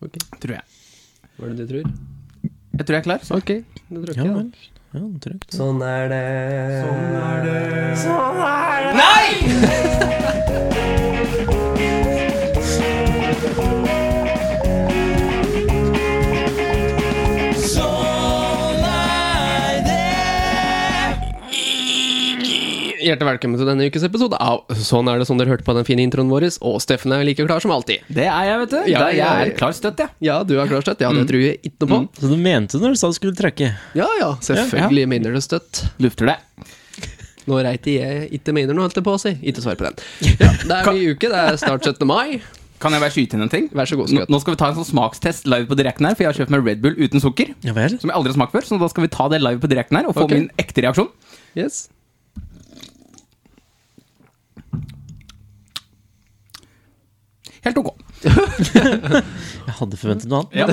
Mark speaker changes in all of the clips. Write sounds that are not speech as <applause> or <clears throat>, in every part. Speaker 1: Ok.
Speaker 2: tror jeg.
Speaker 1: Hva er det du tror?
Speaker 2: Jeg tror jeg er klar.
Speaker 1: Ok, det tror
Speaker 3: Ja
Speaker 1: ikke jeg.
Speaker 3: vel. Ja, trygt.
Speaker 1: Sånn er det. Sånn er det. Hjertelig velkommen til denne ukes episode av Sånn er det som dere hørte på den fine introen vår, og Steffen er like klar som alltid.
Speaker 2: Det er jeg, vet du.
Speaker 1: Ja,
Speaker 2: Da- jeg
Speaker 1: jeg-
Speaker 2: er klar støtt, jeg.
Speaker 1: Ja, du er klar støtt. Ja, det tror jeg ikke noe på.
Speaker 3: Mm. Så du mente når du sa du skulle trekke?
Speaker 1: Ja ja, selvfølgelig mener du støtt.
Speaker 2: Lufter det.
Speaker 1: Nå reit jeg ikke mener noe, holdt jeg på å si. Ikke svar på den. Ja, det er ny uke, det er snart 17. mai.
Speaker 2: Kan jeg bare skyte inn en ting?
Speaker 1: Vær så god,
Speaker 2: Nå
Speaker 1: Skaut.
Speaker 2: nå skal vi ta en sånn smakstest live på direkten her, for jeg har kjøpt meg Red Bull uten sukker.
Speaker 3: Ja vel.
Speaker 2: Som jeg aldri har smakt før, så da skal vi ta det live på direkten her og få
Speaker 1: Ok.
Speaker 2: min ekte reaksjon.
Speaker 1: Yes.
Speaker 2: Helt ok.
Speaker 3: Jeg hadde forventet noe annet.
Speaker 2: Ja,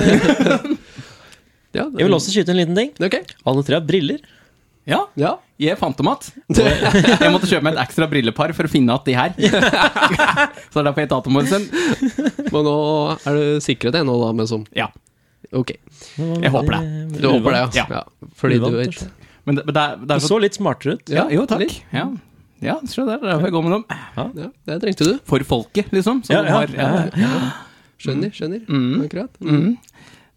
Speaker 1: Ja, det-
Speaker 3: Jeg vil også skyte en liten ting.
Speaker 1: Ok.
Speaker 3: Alle tre har briller.
Speaker 2: <laughs> ja
Speaker 1: Ja. <laughs>
Speaker 2: jeg fant dem <laughs> igjen. Jeg måtte kjøpe meg et ekstra brillepar for å finne igjen de her. <laughs> Så det er derfor jeg tar dem. Morrison.
Speaker 1: Men nå er du sikret det nå, da, med som
Speaker 2: Ja.
Speaker 1: Ok.
Speaker 2: Jeg håper det.
Speaker 1: Du håper det, ja.
Speaker 2: Ja.
Speaker 1: ja. Fordi du
Speaker 3: Eh, Uvant,
Speaker 1: vet
Speaker 3: kanskje.
Speaker 2: Men det, men det er, det
Speaker 3: Du
Speaker 2: er
Speaker 3: så litt smartere ut.
Speaker 2: ja, Jo, takk.
Speaker 1: litt.
Speaker 2: Ja, ja se der. Det er derfor jeg går med dem.
Speaker 1: Ja, det trengte du.
Speaker 2: For folket, liksom. Så
Speaker 3: Ja,
Speaker 2: de
Speaker 3: ja,
Speaker 2: har, ja.
Speaker 3: ja.
Speaker 1: Skjønner, skjønner. Akkurat.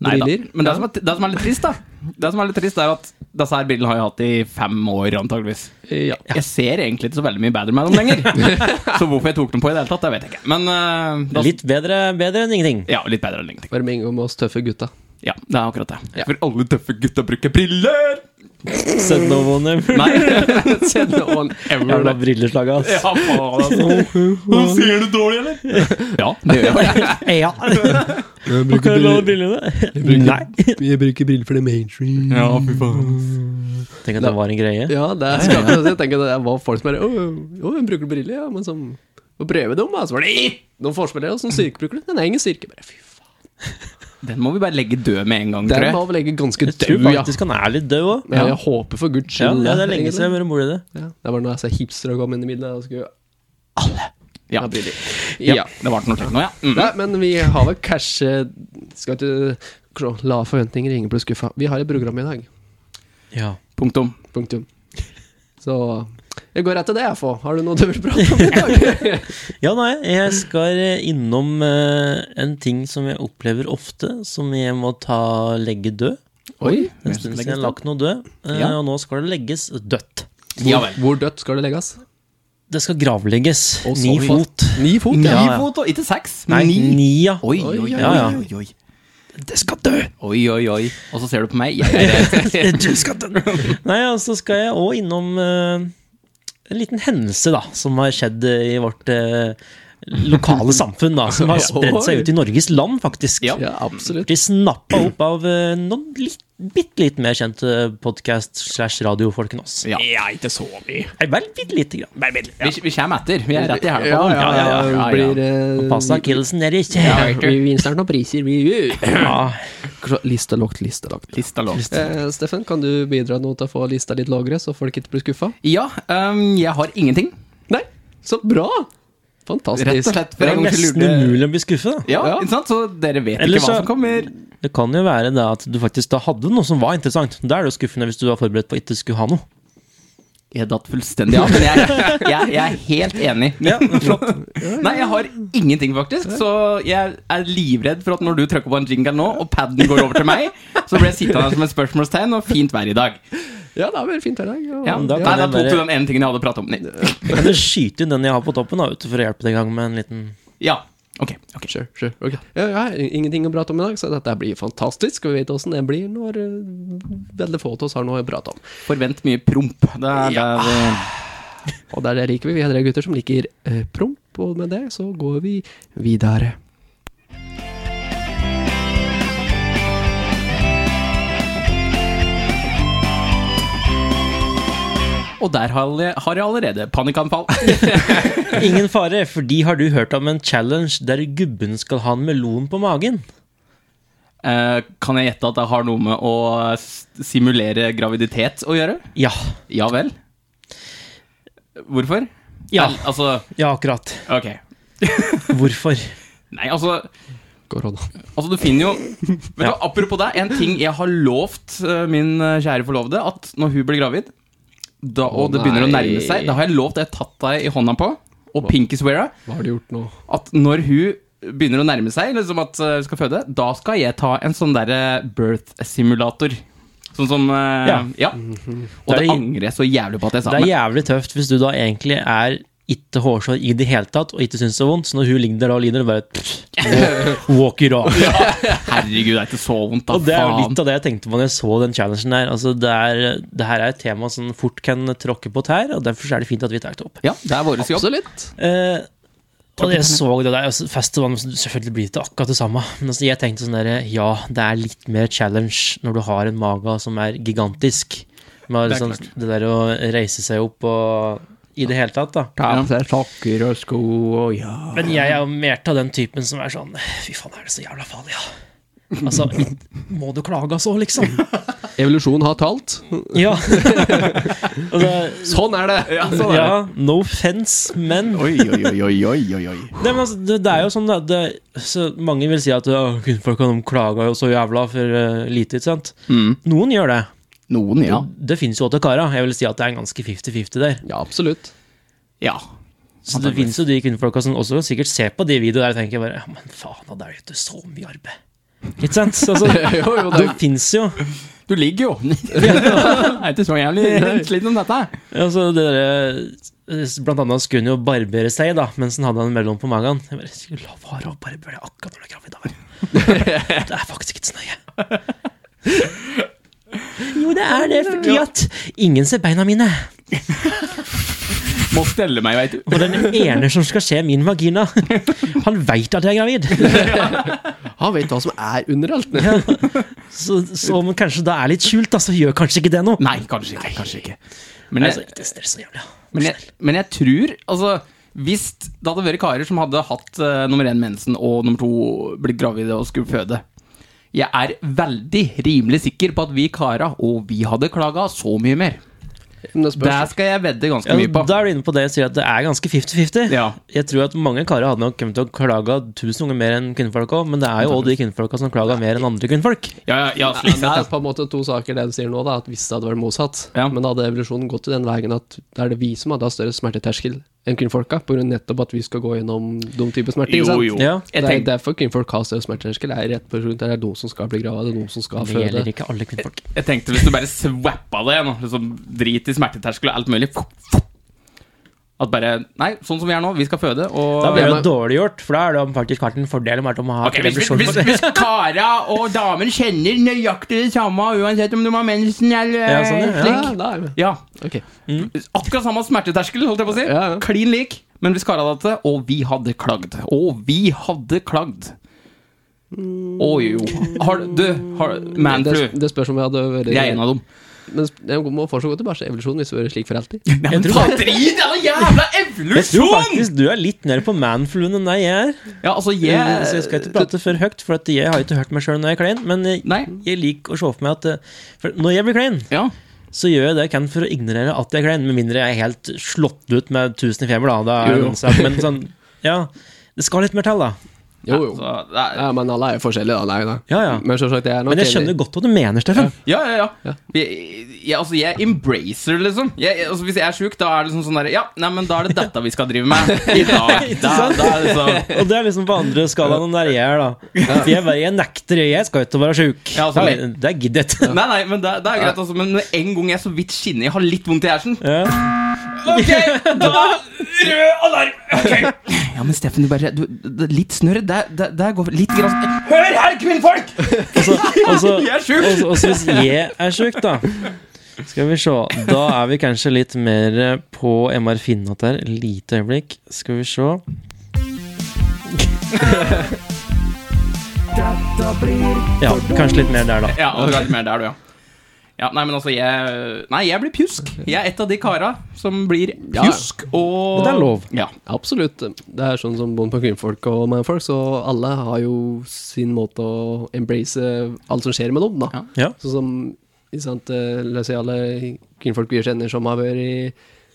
Speaker 2: Nei da.
Speaker 1: Briller.
Speaker 2: Men det
Speaker 1: Ja.
Speaker 2: som, er, det som er litt trist, da Det som er litt trist, er at disse her brillene har jeg hatt i fem år, antageligvis.
Speaker 1: Ja.
Speaker 2: Jeg ser egentlig ikke så veldig mye bedre med dem <laughs> lenger. så hvorfor jeg tok dem på i det hele tatt, det vet jeg ikke. Men eh, da,
Speaker 3: Litt bedre, bedre enn ingenting.
Speaker 2: Ja, litt bedre enn ingenting.
Speaker 1: Bare med en gang med oss tøffe gutta. <laughs>
Speaker 2: Ja, det er akkurat det. For alle tøffe gutta bruker briller!
Speaker 3: Send no one ever. <laughs>
Speaker 2: Nei,
Speaker 1: Send on ever.
Speaker 3: Jævla brilleslaget, ass.
Speaker 2: ja, faen, altså. <laughs> Ser du dårlig, eller? <laughs> Ja, det gjør jeg.
Speaker 3: <laughs> Ja.
Speaker 1: Jeg
Speaker 3: Kan jeg låne <laughs> brillene? Nei.
Speaker 1: briller for det mainstream.
Speaker 2: Ja, fy faen.
Speaker 3: Tenk at det var en greie.
Speaker 1: Ja, det er skapende. Jeg tenker det var folk som bare Å, å, å, bruker du briller? Ja, men som Å prøve dem, altså. Var det noen forspillere
Speaker 3: Mm.
Speaker 1: som styrke bruker det? Den er ingen styrke. Bare fy faen.
Speaker 2: Den må vi bare legge død med en gang, tror
Speaker 1: Den
Speaker 2: jeg.
Speaker 1: må vel ligge ganske
Speaker 3: Jeg tror
Speaker 1: død, ja.
Speaker 3: faktisk han er litt død òg.
Speaker 1: Men jeg håper for guds
Speaker 3: Ja,
Speaker 1: skyld.
Speaker 3: ja, det er lenge siden jeg har vært mor i det.
Speaker 1: Ja, det var når jeg så hipstere kom inn i middag, og skulle
Speaker 2: Ja.
Speaker 1: ha briller.
Speaker 2: ja,
Speaker 1: Ja.
Speaker 2: det ble noe slikt nå, ja. Mm.
Speaker 1: Nei, men vi har vel kanskje Skal ikke klå- la forventninger ringe på skuffa. Vi har et program i dag.
Speaker 3: Ja.
Speaker 2: Punktum.
Speaker 1: Punktum. Så jeg går etter det, jeg, får. Har du noe du vil prate om i
Speaker 3: <laughs>
Speaker 1: dag?
Speaker 3: ja, nei, jeg skal innom eh, en ting som jeg opplever ofte, som jeg må ta legge død.
Speaker 1: Oi.
Speaker 3: Det er en stund siden jeg har lagt noe død, eh,
Speaker 2: Ja.
Speaker 3: og nå skal det legges dødt.
Speaker 2: Ja
Speaker 1: Hvor,
Speaker 2: vel.
Speaker 1: hvor dødt skal det legges?
Speaker 3: Det skal gravlegges.
Speaker 1: Å,
Speaker 3: Ni
Speaker 1: sorry.
Speaker 3: fot.
Speaker 1: Ni fot,
Speaker 2: Ni
Speaker 1: ja.
Speaker 3: Ja, ja.
Speaker 2: fot, og ikke seks,
Speaker 3: Nei,
Speaker 2: men ni.
Speaker 3: ni, ja.
Speaker 2: Oi,
Speaker 1: Oi,
Speaker 2: oi, oi,
Speaker 3: ja, ja.
Speaker 2: oi, oi.
Speaker 3: Det skal dø!
Speaker 2: Oi, oi, oi. Og så ser du på meg. Jeg er
Speaker 3: <laughs>
Speaker 2: redd.
Speaker 3: <laughs> Du skal
Speaker 2: <laughs>
Speaker 3: dø! Nei, og så skal jeg òg innom eh, en liten hendelse, da, som har skjedd eh, i vårt eh,
Speaker 2: <laughs>
Speaker 3: lokale samfunn, da, som har spredd seg ut i Norges land, faktisk.
Speaker 2: Ja.
Speaker 1: Ja, absolutt.
Speaker 3: Blitt snappa opp av eh, noen litt, bitte litt mer kjente podkast slash radiofolk enn oss.
Speaker 2: Ja.
Speaker 1: ikke så mye.
Speaker 3: Nei, Vel, bitte lite grann.
Speaker 2: Vi, vi kommer etter. Vi er rett i hæla på
Speaker 1: Ja,
Speaker 2: dem.
Speaker 1: ja, ja.
Speaker 2: Ja, ja, ja, ja.
Speaker 1: Blir, eh,
Speaker 3: Passa killsen nedi.
Speaker 1: ja,
Speaker 3: Ja.
Speaker 1: vi vinner noen priser, vi.
Speaker 3: Ja.
Speaker 1: Lista lågt, lista lågt.
Speaker 2: Lista lågt.
Speaker 1: Eh, Steffen, kan du bidra noe til å få lista litt lavere, så folk ikke blir skuffa?
Speaker 2: Ja, ehm, jeg har ingenting.
Speaker 1: Nei, så bra! Fantastisk.
Speaker 2: Rett og slett.
Speaker 3: Det
Speaker 2: For
Speaker 3: er
Speaker 2: en gang
Speaker 3: nesten
Speaker 2: lurte
Speaker 3: umulig å bli skuffet, da.
Speaker 2: ja,
Speaker 1: Ja.
Speaker 2: ikke sant? Så dere vet
Speaker 3: Ellers
Speaker 2: ikke hva
Speaker 3: så-
Speaker 2: som kommer.
Speaker 3: Det kan jo være da at du faktisk da hadde noe som var interessant. Da er det jo skuffende hvis du var forberedt på å ikke skulle ha noe.
Speaker 2: Jeg datt fullstendig av, men jeg, jeg, jeg er helt enig. Nei, jeg har ingenting, faktisk. Så jeg er livredd for at når du trykker på en jingle nå, og paden går over til meg, så blir jeg sittende her som et spørsmålstegn og fint vær i dag.
Speaker 1: Ja, det er vel fint her i dag. og-
Speaker 2: Ja,
Speaker 3: men
Speaker 2: da,
Speaker 3: da
Speaker 2: nei,
Speaker 3: kan
Speaker 2: da
Speaker 3: jeg
Speaker 2: tok du
Speaker 3: bare-
Speaker 2: den ene tingen jeg hadde pratet om. Nei.
Speaker 3: Jeg kan jo skyte inn den jeg har på toppen, da, vet du, for å hjelpe deg i gang med en liten
Speaker 2: Ja, ok. ok.
Speaker 1: Sure, sure. ok. Ja, jeg har ingenting å prate om i dag, så dette blir fantastisk. Og vi vet åssen det blir når eh, veldig få av oss har noe å prate om.
Speaker 2: Forvent mye promp. Det er, det er,
Speaker 1: Og det er det liker vi. Vi er tre gutter som liker eh, promp, og med det så går vi videre.
Speaker 2: Og der har jeg, har jeg allerede panikkanfall.
Speaker 3: Ingen fare, fordi har du hørt om en challenge der gubben skal ha en melon på magen?
Speaker 2: Eh, kan jeg gjette at det har noe med å s- simulere graviditet å gjøre?
Speaker 3: Ja.
Speaker 2: Ja vel? Hvorfor?
Speaker 3: Ja.
Speaker 2: Vel, altså,
Speaker 3: Ja, akkurat.
Speaker 2: ok.
Speaker 3: Hvorfor?
Speaker 2: Nei, altså
Speaker 1: korona.
Speaker 2: Altså, du finner jo Vet du, hva, Apropos deg, en ting jeg har lovt eh, min eh, kjære forlovede, at når hun blir gravid, da,
Speaker 1: Å,
Speaker 2: og det begynner å
Speaker 1: nei.
Speaker 2: nærme seg, da har jeg lovt det jeg har tatt deg i hånda på, og pinkisweara,
Speaker 1: Hva har du gjort nå?
Speaker 2: at når hun begynner å nærme seg, liksom at eh, hun skal føde, da skal jeg ta en sånn derre birth simulator. Sånn som eh,
Speaker 3: Ja.
Speaker 2: ja. Og
Speaker 3: Det er
Speaker 2: det
Speaker 3: i-
Speaker 2: angrer jeg så jævlig på at jeg sa.
Speaker 3: Det er
Speaker 2: men-
Speaker 3: jævlig tøft hvis du da egentlig er ikke hårsår i det hele tatt, og ikke syns det er vondt, så når hun ligger der og lider, og bare pff, walk- walk it off.
Speaker 2: Herregud, det er ikke så vondt, da.
Speaker 3: Og det er jo
Speaker 2: faen.
Speaker 3: litt av det jeg tenkte på når jeg så den challengen der. Altså, det, er, det her er et tema som fort kan tråkke på tær, og derfor er det fint at vi tar det opp.
Speaker 2: Ja, det er vår jobb.
Speaker 1: Absolutt.
Speaker 3: Eh, og jeg så det der, altså, festivalen selvfølgelig blir det ikke akkurat det samme. Men altså, jeg tenkte sånn der, ja, det er litt mer challenge når du har en mage som er gigantisk. Med
Speaker 1: Det er
Speaker 3: liksom, det der å reise seg opp og i det hele tatt, da.
Speaker 1: Ta på seg sokker og sko og ja
Speaker 3: Men jeg er jo mer av den typen som er sånn Fy faen, er det så jævla farlig, ja? Altså, må du klage så, liksom?
Speaker 1: Evolusjon har talt.
Speaker 3: <laughs> Ja. altså,
Speaker 1: Sånn er det!
Speaker 3: ja, no offense, men
Speaker 2: Oi, oi, oi, oi, oi, oi.
Speaker 3: Nei, men altså, det, det er jo sånn da, det, så Mange vil si at «Å, kvinnfolka de klager jo så jævla for eh, lite, ikke sant?
Speaker 2: Mm.
Speaker 3: Noen gjør det.
Speaker 2: Noen, ja.
Speaker 3: Det finnes jo åtte karer. Jeg vil si at det er en ganske 50-50 der.
Speaker 1: Ja, absolutt.
Speaker 2: Ja.
Speaker 3: Så det finnes jo de kvinnfolka som også sikkert ser på de videoene der og tenker bare «Ja, Men faen, da, det er jo ikke så mye arbeid. Ikke sant? Altså,
Speaker 1: Jo, jo, det
Speaker 3: det finnes jo.
Speaker 2: Du ligger <laughs> jo. Jeg er ikke så jævlig sliten om dette.
Speaker 3: Altså, det der, blant annet skulle han jo barbere seg da, mens han hadde en mellom på magen. Jeg bare, skulle la være å barbere deg akkurat når du er gravid. da, vel?» Det er faktisk ikke så nøye. Jo, det er det, fordi at ingen ser beina mine.
Speaker 2: Må stelle meg, veit du.
Speaker 3: Og den ene som skal se min vagina, han veit at jeg er gravid.
Speaker 1: Han vet hva som er under alt. Ja.
Speaker 3: Så, så om kanskje det er litt skjult, da, så gjør kanskje ikke det noe.
Speaker 2: Nei, kanskje ikke. Kanskje ikke. Men
Speaker 3: Altså,
Speaker 2: jeg,
Speaker 3: ikke stress så jævlig.
Speaker 2: men jeg, men jeg tror Altså, hvis det hadde vært karer som hadde hatt eh, nummer én mensen og nummer to blitt gravide og skulle føde jeg er veldig rimelig sikker på at vi kara og vi hadde klaga så mye mer. Det skal jeg vedde ganske
Speaker 3: Ja,
Speaker 2: mye på.
Speaker 3: da er du inne på det jeg sier, at det er ganske 50-50.
Speaker 2: Ja.
Speaker 3: Jeg tror at mange karer hadde nok kommet til å klage tusen ganger mer enn kvinnfolk òg, men det er jo også de kvinnfolka som klager mer enn andre kvinnfolk.
Speaker 2: Ja, ja, altså, ja,
Speaker 1: Men
Speaker 2: slik
Speaker 1: det er
Speaker 2: sett.
Speaker 1: på en måte to saker det du sier nå, da, at hvis det hadde vært motsatt,
Speaker 2: Ja.
Speaker 1: men da hadde evolusjonen gått i den veien at da er det vi som hadde hatt større smerteterskel enn kvinnfolka, på grunn av nettopp at vi skal gå gjennom de typer smerter. ikke
Speaker 2: Jo,
Speaker 1: sant?
Speaker 2: jo.
Speaker 3: Ja.
Speaker 2: Jeg
Speaker 1: Det er
Speaker 2: tenkte,
Speaker 1: derfor kvinnfolk har større smerteterskel. Det er rett på grunn av at det er de som skal bli grava, det er de som skal
Speaker 3: Det
Speaker 1: føde.
Speaker 3: gjelder ikke alle kvinnfolk.
Speaker 2: jeg tenkte hvis du bare swappa det nå, liksom drit i smerteterskel og alt mulig At bare Nei, sånn som vi er nå, vi skal føde, og
Speaker 3: Da blir det
Speaker 1: men-
Speaker 3: jo dårlig gjort, for da er det faktisk vært en fordel om at de har
Speaker 2: Ok, hvis, hvis, hvis, hvis kara og damer kjenner nøyaktig det samme uansett om de har mensen eller
Speaker 3: Ja, sånn, ja.
Speaker 2: slik
Speaker 1: Ja, da er vi.
Speaker 2: Ja.
Speaker 1: Ok.
Speaker 2: Akkurat samme smerteterskel, holdt jeg på å si.
Speaker 1: Ja, ja.
Speaker 2: Klin lik. Men hvis kara hadde hatt det, og vi hadde klagd. Og vi hadde klagd.
Speaker 3: Mm.
Speaker 2: Å jo. Har du har, Manflu.
Speaker 1: Det, det spørs om vi hadde vært
Speaker 2: Jeg er en av dem.
Speaker 1: Men sp- det må fortsatt gå tilbake til evolusjonen hvis vi har vært slik for alltid.
Speaker 2: Nei, men
Speaker 3: tror-
Speaker 2: ta drit i all jævla
Speaker 3: Jeg tror
Speaker 2: evolusjon!
Speaker 3: faktisk du er litt nede på manfluen enn jeg er.
Speaker 2: Ja, altså,
Speaker 3: Så jeg skal
Speaker 2: jeg
Speaker 3: ikke prate for høyt, for at jeg har ikke hørt meg sjøl når jeg er klein. Men jeg,
Speaker 2: Nei.
Speaker 3: jeg liker å se for meg at eh, for Når jeg blir klein,
Speaker 2: Ja.
Speaker 3: så gjør jeg det jeg kan for å ignorere at jeg er klein, med mindre jeg er helt slått ut med tusen i feber, da. da er
Speaker 1: Jo,
Speaker 3: det
Speaker 1: jo.
Speaker 3: en sak, men sånn, ja, det skal litt mer til, da.
Speaker 1: Jo, jo.
Speaker 2: Så, det er-
Speaker 1: Ja, men alle er jo forskjellige, da. Nei, da.
Speaker 3: Ja, ja.
Speaker 1: Men selvsagt, jeg er nok
Speaker 3: Men jeg skjønner godt hva du mener, Steffen.
Speaker 2: Ja, ja, ja. Jeg, jeg, altså, jeg embracer, liksom. Jeg, jeg- altså, hvis jeg er sjuk, da er det liksom sånn derre Ja, nei, men da er det dette vi skal drive med i dag. Da, da er det så
Speaker 3: Og det er liksom på andre skalaen enn der jeg er, da. For jeg, bare, jeg nekter, jeg skal ikke være sjuk.
Speaker 2: Ja, altså,
Speaker 3: Nei, det er giddet.
Speaker 2: Nei, nei, men det, det er greit, altså. Men en gang jeg så vidt skinner, jeg har litt vondt i hersen
Speaker 3: Ja.
Speaker 2: Ok, <laughs> da Rød alarm! Ok Ja, men Steffen, du bare du, det, Litt snørr. Det, det, det går litt grann Hør her, kvinnfolk!
Speaker 3: Og så- <laughs> og så-
Speaker 2: Jeg er sjuk!
Speaker 3: og så- og så hvis jeg er sjuk, da Skal vi se. Da er vi kanskje litt mer på MR Finnat der. Lite øyeblikk. Skal vi se. Ja, kanskje litt mer der, da.
Speaker 2: Ja, og du er litt mer der, du, ja. Ja, nei, men altså, jeg Nei, jeg blir pjusk. Jeg er et av de kara som blir
Speaker 1: Ja.
Speaker 2: pjusk og
Speaker 3: Og det er lov.
Speaker 2: Ja.
Speaker 1: Absolutt. Det er sånn som Bond på kvinnfolk og manfolk, så alle har jo sin måte å embrace alt som skjer med dem, da.
Speaker 2: Ja.
Speaker 3: Ja.
Speaker 1: Sånn som ikke sant, eh, La oss si alle kvinnfolk vi kjenner som har vært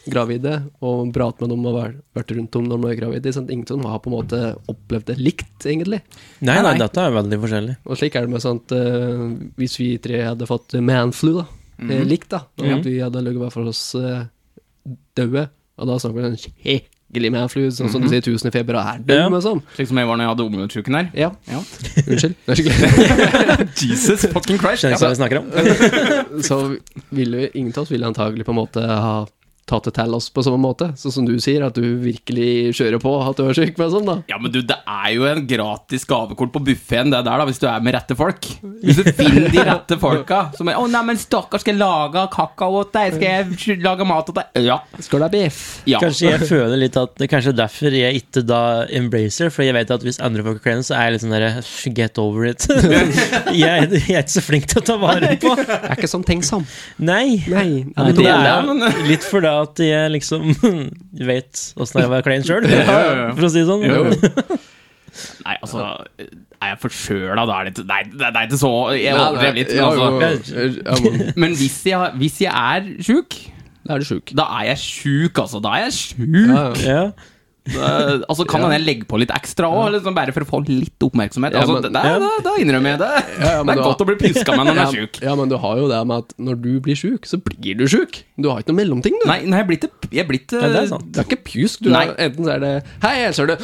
Speaker 1: gravide, og prat med dem og vært- vært rundt om når de er gravide. Sant? Ingen av dem har på en måte opplevd det likt, egentlig.
Speaker 3: Nei,
Speaker 2: Nei,
Speaker 3: nei,
Speaker 2: nei.
Speaker 3: dette er veldig forskjellig.
Speaker 1: Og slik er det med sånt eh, Hvis vi tre hadde fått manflu, da, eh, likt, da, og at vi hadde ligget hver for oss eh, døde, og da snakker vi sånn skikkelig manflu, sånn som du sier tusen i feber og er dum,
Speaker 3: Ja.
Speaker 1: og sånn.
Speaker 2: Slik som jeg var når jeg hadde omgangssyken her.
Speaker 1: Ja,
Speaker 2: Ja.
Speaker 1: unnskyld. Det er skikkelig.
Speaker 2: Jesus fucking Christ.
Speaker 3: Skjønner
Speaker 2: Ja,
Speaker 3: ikke hva vi snakker
Speaker 1: <laughs>
Speaker 3: om.
Speaker 1: Så ville vi, ingen av oss ville antagelig på en måte ha tatt det til oss på samme måte, sånn som du sier, at du virkelig kjører på at du er syk med og sånn, da.
Speaker 2: Ja, men du, det er jo en gratis gavekort på buffeen, det der, da, hvis du er med rette folk. Hvis du finner de rette folka som er 'Å, nei, men stakkar, skal jeg lage kakao åt deg? Skal jeg lage mat åt deg?' Ja.
Speaker 1: Skal du ha biff?
Speaker 2: ja.
Speaker 3: Kanskje jeg føler litt at Det er kanskje derfor jeg ikke da embracer, for jeg vet at hvis andre folk er kleine, så er jeg litt sånn derre Get over it. <laughs> jeg, jeg er ikke så flink til å ta vare på.
Speaker 1: Jeg er ikke sånn tenksom.
Speaker 3: Nei.
Speaker 1: Nei.
Speaker 3: Men
Speaker 2: det
Speaker 3: det
Speaker 2: er
Speaker 3: er
Speaker 2: det, men-
Speaker 3: <laughs> litt fordi at jeg liksom <laughs> vet åssen det er å
Speaker 2: <laughs>
Speaker 3: være klein sjøl,
Speaker 2: ja, ja.
Speaker 3: for å si det sånn. <laughs>
Speaker 2: Jo. Nei, altså Er jeg forsjøla, da er det ikke Nei, det det er ikke så Jeg overdrev litt. Men,
Speaker 1: Ja, jo,
Speaker 2: altså.
Speaker 1: jo. Ja, men
Speaker 2: men hvis jeg, hvis jeg er sjuk,
Speaker 1: Da er du sjuk.
Speaker 2: da er jeg sjuk, altså. Da er jeg sjuk.
Speaker 1: Ja,
Speaker 3: <laughs>
Speaker 1: ja.
Speaker 3: Ja.
Speaker 2: Da- Altså, kan hende jeg legger på litt ekstra òg, liksom, bare for å få litt oppmerksomhet.
Speaker 1: Ja,
Speaker 2: Altså,
Speaker 1: men-
Speaker 2: det, det, det, det innrømmer jeg. Det,
Speaker 1: ja, men
Speaker 2: det er
Speaker 1: da-
Speaker 2: godt å bli piska med når man er
Speaker 1: Ja,
Speaker 2: sjuk.
Speaker 1: ja, men du har jo det med at når du blir sjuk, så blir du sjuk. Du har ikke noe mellomting, du.
Speaker 2: Nei, nei, jeg blir ikke Jeg eh, blir ikke
Speaker 3: Ja, det er sant.
Speaker 1: Det er ikke pjusk. Du
Speaker 2: Nei.
Speaker 1: er, enten så er det Hei, ellers <laughs> er det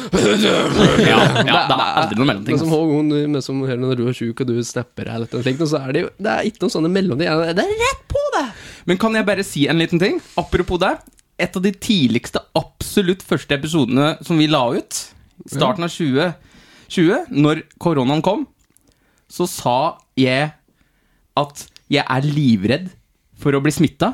Speaker 2: Ja,
Speaker 1: <laughs>
Speaker 2: ja, det er aldri noe mellomting.
Speaker 1: Men som
Speaker 2: Altså.
Speaker 1: Håkon, men som Helen, når du er sjuk og du snapper eller noe slikt, så er det jo Det er ikke noe sånne mellomting. Ja, Det er rett på, det!
Speaker 2: Men kan jeg bare si en liten ting? Apropos det. Et av de tidligste, absolutt første episodene som vi la ut, starten av 2020, når koronaen kom, så sa jeg at jeg er livredd for å bli smitta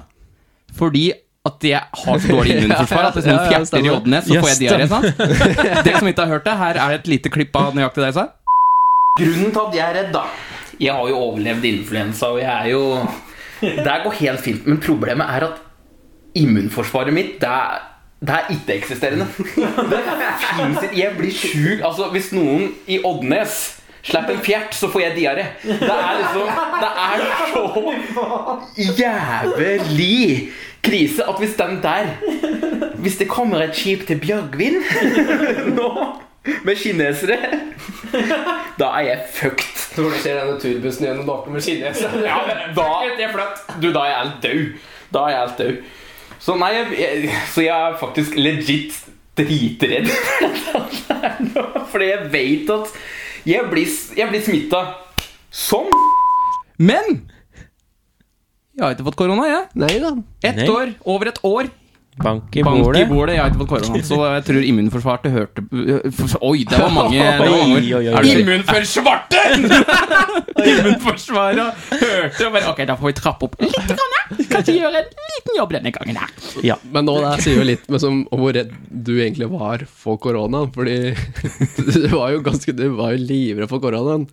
Speaker 2: fordi at jeg har så
Speaker 1: <laughs>
Speaker 2: dårlig immunforsvar at hvis
Speaker 1: Ja,
Speaker 2: noen
Speaker 1: ja, ja,
Speaker 2: fjerter i
Speaker 1: stemmer.
Speaker 2: oddene, så
Speaker 3: Ja,
Speaker 2: får jeg diaré. sant? <laughs> Dere som ikke har hørt det, her er et lite klipp av nøyaktig det jeg sa. Grunnen til at jeg er redd, da Jeg har jo overlevd influensa, og jeg er jo Det går helt fint, men problemet er at immunforsvaret mitt, det er det er ikke-eksisterende. <laughs> Det finnes ikke. Jeg blir sjuk Altså, hvis noen i Oddnes slipper en fjert, så får jeg diaré. Det er liksom Det er så jævlig krise at hvis den der Hvis det kommer et skip til Bjørgvin <laughs> nå med kinesere, da er jeg fucked.
Speaker 1: Når du ser denne turbussen gjennom bakom med <laughs> kinesere
Speaker 2: Ja, da Du, da er jeg helt død. Da er jeg helt død. Så nei, jeg, jeg, så jeg er faktisk legit dritredd. <laughs> Fordi jeg vet at jeg blir, s- jeg blir smitta sånn. Men jeg har ikke fått korona, jeg.
Speaker 1: Nei da.
Speaker 2: Ett
Speaker 3: Nei.
Speaker 2: år, over et år.
Speaker 3: Bank i
Speaker 2: Bank i
Speaker 3: bordet.
Speaker 2: bordet, jeg har ikke fått korona. Så jeg tror immunforsvaret hørte Oi, det var mange. Det var mange.
Speaker 3: Oi, oi, oi.
Speaker 2: Er du- Immunforsvaret! <laughs> Immunforsvaret hørte og bare Ok, da får vi trappe opp litt. Grann. Kanskje gjøre en liten jobb denne gangen her.
Speaker 3: Ja.
Speaker 1: Men nå det sier jo litt med som, om hvor redd du egentlig var for koronaen. Fordi <laughs> du var jo ganske Du var jo livredd for koronaen.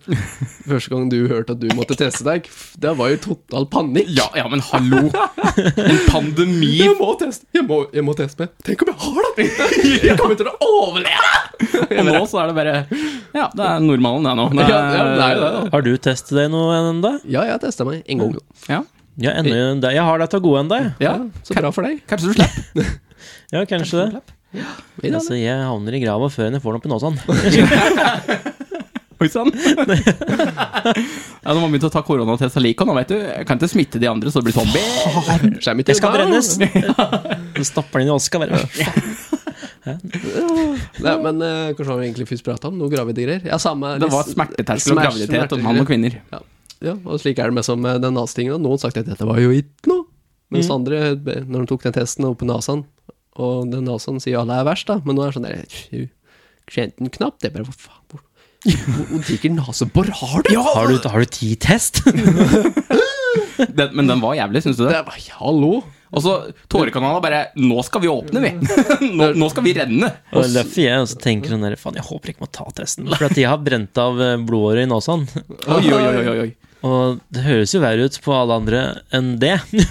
Speaker 1: Første gang du hørte at du måtte teste deg, det var jo total panikk.
Speaker 2: Ja, ja, men hallo. En
Speaker 1: <laughs>
Speaker 2: pandemi
Speaker 1: Jeg må teste jeg må, jeg må teste meg. Tenk om jeg har det! Jeg kommer til å overleve!
Speaker 2: Og nå så er det bare Ja, det er normalen, det nå.
Speaker 1: <laughs> Ja, ja, det er jo det, da.
Speaker 3: Har du testet deg noe ennå?
Speaker 1: Ja, jeg testa meg en gang.
Speaker 2: Ja.
Speaker 3: Ja, ennå
Speaker 2: Eh,
Speaker 3: en dag. Jeg har deg til gode ennå. jeg.
Speaker 1: Ja, Så bra for deg.
Speaker 2: Kanskje du slipper.
Speaker 3: Ja, kanskje det.
Speaker 1: Vi da,
Speaker 3: Altså, jeg havner i grava før jeg får den opp i nåsan.
Speaker 2: <laughs> Oi sann. <laughs> Ja, nå må man begynne å ta koronatest allikevel, nå, vet du. Jeg kan ikke smitte de andre, så det blir zombie.
Speaker 1: Skjerm ikke
Speaker 3: Det skal
Speaker 1: i dag.
Speaker 3: brennes!
Speaker 2: <laughs>
Speaker 3: Så stapper den inn i oska. bare.
Speaker 1: Nei, men eh, kanskje har vi egentlig først prata om noe gravide greier? Ja, samme
Speaker 2: Det var
Speaker 1: litt-
Speaker 2: smerteterskel og
Speaker 1: smer-
Speaker 2: graviditet om mann og kvinner.
Speaker 1: Ja. ja, og slik er det med som eh, den NASA-tingen. da. Noen sagt at dette var jo ikke noe, mens andre, eh, når de tok den testen oppe på NASA-en, og den NASA-en sier alle er verst, da, men nå er det sånn der «Tju, Kjente den knapt? Det er bare hva faen hvor- Hvor hvor diger nesebor har du?
Speaker 3: Har du, har du
Speaker 2: <laughs>
Speaker 3: ti-test?
Speaker 2: Den, men den var jævlig, syns du det?
Speaker 1: Det var, hallo!
Speaker 2: Og så Tårekanalen bare Nå skal vi <laughs> åpne, vi! Nå, nå skal vi renne!
Speaker 3: Og det er derfor jeg også tenker sånn der, faen, jeg håper jeg ikke må ta testen. For at jeg har brent av eh, blodåret i nåsan.
Speaker 2: Oi, oi, oi, oi, oi.
Speaker 3: Og det høres jo verre ut på alle andre enn det.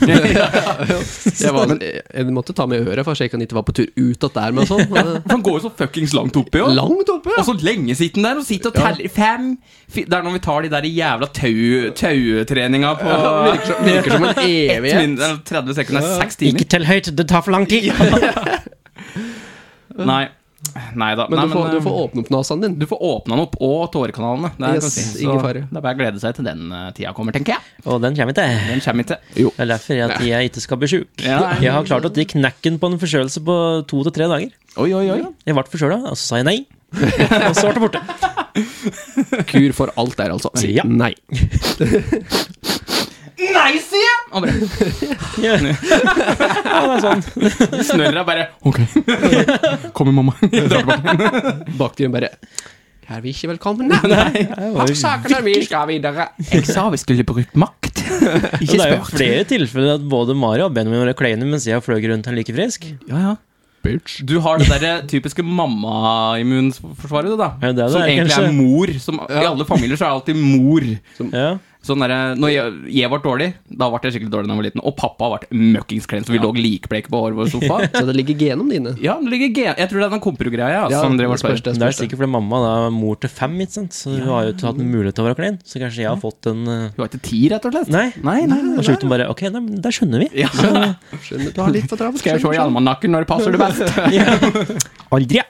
Speaker 1: Jeg, var, jeg, jeg måtte ta med øret for å sjekke han ikke var på tur ut at der med og sånn. Men,
Speaker 2: For han går jo så fuckings langt oppi
Speaker 1: eh,
Speaker 2: òg.
Speaker 1: Langt oppe!
Speaker 2: Og så lenge sitter han der og sitter og teller fem fi, Det er når vi tar de der jævla tau, tautreninga på
Speaker 1: virker som- virker som en
Speaker 2: <laughs> Ett
Speaker 1: evighet.
Speaker 2: minutt, eller 30 sekunder, det er seks timer.
Speaker 3: Ikke tell høyt, det tar for lang tid!
Speaker 2: Nei. Nei da.
Speaker 1: Men,
Speaker 2: Nei,
Speaker 1: du, får, du
Speaker 2: eh,
Speaker 1: får åpne opp nasaen din.
Speaker 2: du får åpna den opp, og tårekanalene. Det er,
Speaker 1: Yes,
Speaker 2: kan jeg si. Så
Speaker 1: ingen fare.
Speaker 2: Det er bare å glede seg til den eh, tida kommer, tenker jeg.
Speaker 3: <laughs> Og den kommer ikke.
Speaker 2: Den kommer ikke.
Speaker 1: Jo.
Speaker 3: Det er derfor jeg, at jeg ikke skal bli sjuk.
Speaker 2: Ja.
Speaker 3: Jeg har klart å ta knekken på en forkjølelse på to til tre dager.
Speaker 2: Oi, oi, oi.
Speaker 3: Jeg ble forkjøla, og så sa jeg nei. Og så ble det
Speaker 2: <laughs>
Speaker 3: borte.
Speaker 1: Kur for alt der, altså. Si
Speaker 3: Ja.
Speaker 1: nei.
Speaker 2: Nei, sier jeg! Og bare
Speaker 3: Ja, det er sånn.
Speaker 2: snørra bare <laughs> Ok. Kommer <laughs> mamma. Drar tilbake.
Speaker 1: Baktiven bare Er vi ikke velkomne?
Speaker 3: Det var jo-
Speaker 1: Sakene vi skal videre.
Speaker 2: Jeg sa vi skulle bruke makt.
Speaker 3: Og
Speaker 2: Ikke
Speaker 3: det er jo
Speaker 2: spør.
Speaker 3: flere tilfeller at både Mario og Benjamin var kleine mens jeg fløy rundt her like frisk.
Speaker 2: Ja, ja.
Speaker 1: Bitch.
Speaker 2: Du har det derre typiske mammaimmunforsvaret, du, da.
Speaker 3: Ja, det er det,
Speaker 2: som egentlig
Speaker 3: kanskje.
Speaker 2: er mor. Som, I alle familier så er det alltid mor.
Speaker 3: Ja.
Speaker 2: Sånn derre- når jeg, jeg var dårlig, da ble jeg skikkelig dårlig da jeg var liten. Og pappa ble møkkings klein, så vi lå likbleke på håret vårt i
Speaker 3: <laughs>
Speaker 2: sofaen.
Speaker 1: Så det ligger genene dine.
Speaker 2: Ja, det ligger gen... Jeg tror det er den kompro-greia. Ja,
Speaker 1: Ja,
Speaker 2: som driver
Speaker 1: det spørs
Speaker 2: det.
Speaker 1: det.
Speaker 3: Men det er sikkert fordi mamma da er mor til fem, ikke sant? så hun har jo ikke hatt mulighet til å være klein. Så kanskje jeg har fått en eh,
Speaker 2: Du har ikke tid, rett og slett?
Speaker 3: Nei.
Speaker 2: nei, nei,
Speaker 3: Og
Speaker 2: nei,
Speaker 3: sjukdom bare Ok, nei, men der skjønner vi.
Speaker 2: Ja.
Speaker 1: Skjønner, du har litt for travelt.
Speaker 2: Skal jeg se i
Speaker 1: skjønner,
Speaker 2: almanakken når det passer det best? <laughs>
Speaker 3: Aldri!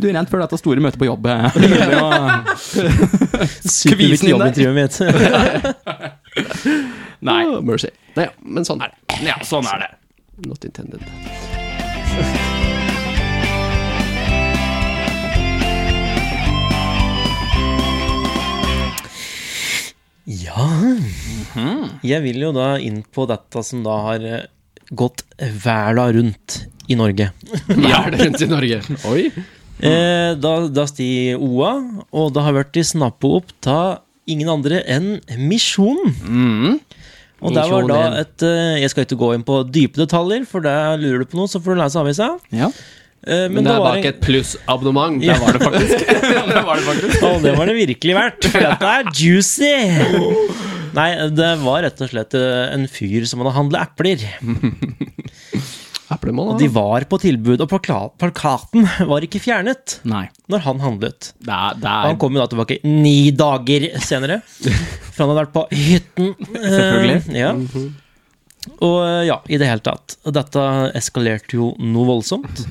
Speaker 2: Du er rent før dette store møtet på jobb. <laughs> Nei, Kvisen
Speaker 3: Superviktig
Speaker 2: inn der.
Speaker 3: jobbintervju mitt.
Speaker 2: <laughs>
Speaker 1: skjønner. Mercy. Nei, ja, men sånn er det.
Speaker 2: ja, sånn er det.
Speaker 1: Not intended.
Speaker 3: Ja
Speaker 1: Mhm.
Speaker 3: Jeg vil jo da inn på dette som da har eh, gått verda rundt i Norge.
Speaker 2: Sånn
Speaker 1: Ja. Er det rundt i Norge? Oi.
Speaker 3: Eh, da, da sti OA, og det har vært i snappet opp ta ingen andre enn Misjonen.
Speaker 2: Mm.
Speaker 3: Og der var da
Speaker 1: Misjonen.
Speaker 3: et eh, Jeg skal ikke gå inn på dype detaljer, for der lurer du på noe, så får du lese avisa.
Speaker 2: Ja.
Speaker 3: Eh, men
Speaker 1: Men det
Speaker 3: da
Speaker 1: er
Speaker 3: var
Speaker 1: bak
Speaker 3: det
Speaker 1: et plussabonnement.
Speaker 3: Ja.
Speaker 1: Der var det faktisk.
Speaker 2: det var det faktisk.
Speaker 3: <laughs> Å, det var det virkelig verdt, for dette er juicy!
Speaker 1: <laughs>
Speaker 3: Nei, det var rett og slett eh, en fyr som hadde handla epler.
Speaker 1: <laughs> Eplemål,
Speaker 3: Og
Speaker 1: da.
Speaker 3: de var på tilbud, og plaka- plakaten <laughs> var ikke fjernet
Speaker 2: Nei.
Speaker 3: når han handlet.
Speaker 2: Det er, det
Speaker 3: Og
Speaker 2: er
Speaker 3: han kom jo da tilbake ni dager senere, for han hadde vært på hytten.
Speaker 2: <laughs> Selvfølgelig.
Speaker 3: Eh, Ja. Og eh, ja, i det hele tatt. Og Dette eskalerte jo noe voldsomt.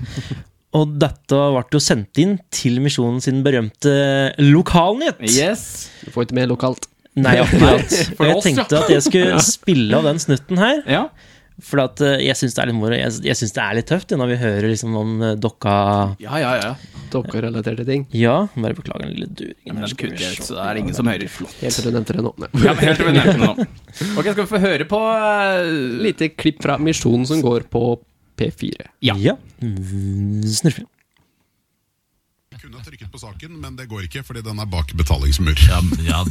Speaker 3: Og dette ble jo sendt inn til Misjonen sin berømte lokalnytt.
Speaker 2: Yes.
Speaker 1: Du får ikke med lokalt.
Speaker 2: <laughs>
Speaker 3: Nei, akkurat.
Speaker 2: For
Speaker 3: Og jeg
Speaker 2: oss, ja.
Speaker 3: tenkte at jeg skulle spille av den snutten her,
Speaker 2: Ja.
Speaker 3: for at eh, jeg syns det er litt moro. Jeg, jeg syns det er litt tøft ja, når vi hører liksom om eh, dokka
Speaker 2: Ja, ja, ja.
Speaker 1: Dokkerelaterte ting.
Speaker 3: Ja, bare beklager den lille duringen.
Speaker 2: Men
Speaker 3: her,
Speaker 2: den
Speaker 3: skal vi
Speaker 2: kutter jeg
Speaker 3: se.
Speaker 2: ut, så det er ingen som hører. Flott.
Speaker 1: Helt til du nevnte det nå. Nei.
Speaker 2: <laughs> Ja, men helt til vi nevner det nå. Ok, skal vi få høre på eh,
Speaker 1: Lite klipp fra Misjonen som går på P4.
Speaker 2: Ja.
Speaker 3: Ja. Mm, Snurfer.
Speaker 4: kunne ha trykket på saken, men det går ikke fordi den er bak betalingsmur.
Speaker 5: Ja, ja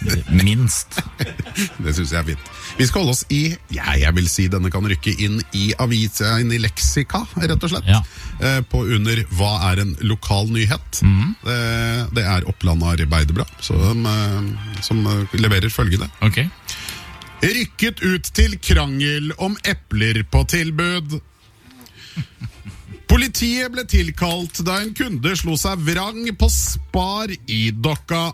Speaker 5: det Minst.
Speaker 4: Det synes jeg er fint. Vi skal holde oss i ja, jeg vil si denne kan rykke inn i avisa, inn i leksika, rett og slett.
Speaker 5: Ja.
Speaker 4: Eh, På under 'Hva er en lokal nyhet?'
Speaker 5: Mhm.
Speaker 4: Eh, Det er Oppland Arbeiderblad som, eh, som eh, leverer følgende.
Speaker 5: Ok.
Speaker 4: Rykket ut til krangel om epler på tilbud. Politiet ble tilkalt da en kunde slo seg vrang på Spar i Dokka.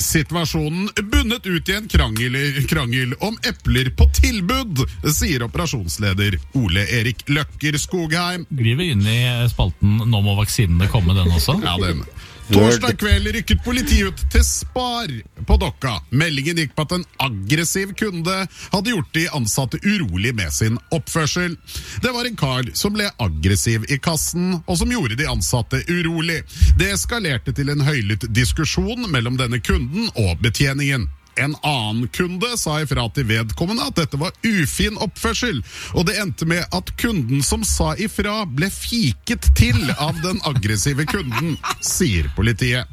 Speaker 4: Situasjonen bundet ut i en krangel, krangel om epler på tilbud, sier operasjonsleder Ole Erik Løkker Skogheim.
Speaker 5: Skriver inn i spalten 'Nå må vaksinene komme', den også.
Speaker 4: Ja, den. Torsdag kveld rykket politiet ut til Spar på Dokka. Meldingen gikk på at en aggressiv kunde hadde gjort de ansatte urolig med sin oppførsel. Det var en kar som ble aggressiv i kassen, og som gjorde de ansatte urolig. Det eskalerte til en høylytt diskusjon mellom denne kunden og betjeningen. En annen kunde sa ifra til vedkommende at dette var ufin oppførsel, og det endte med at kunden som sa ifra, ble fiket til av den aggressive kunden, sier politiet.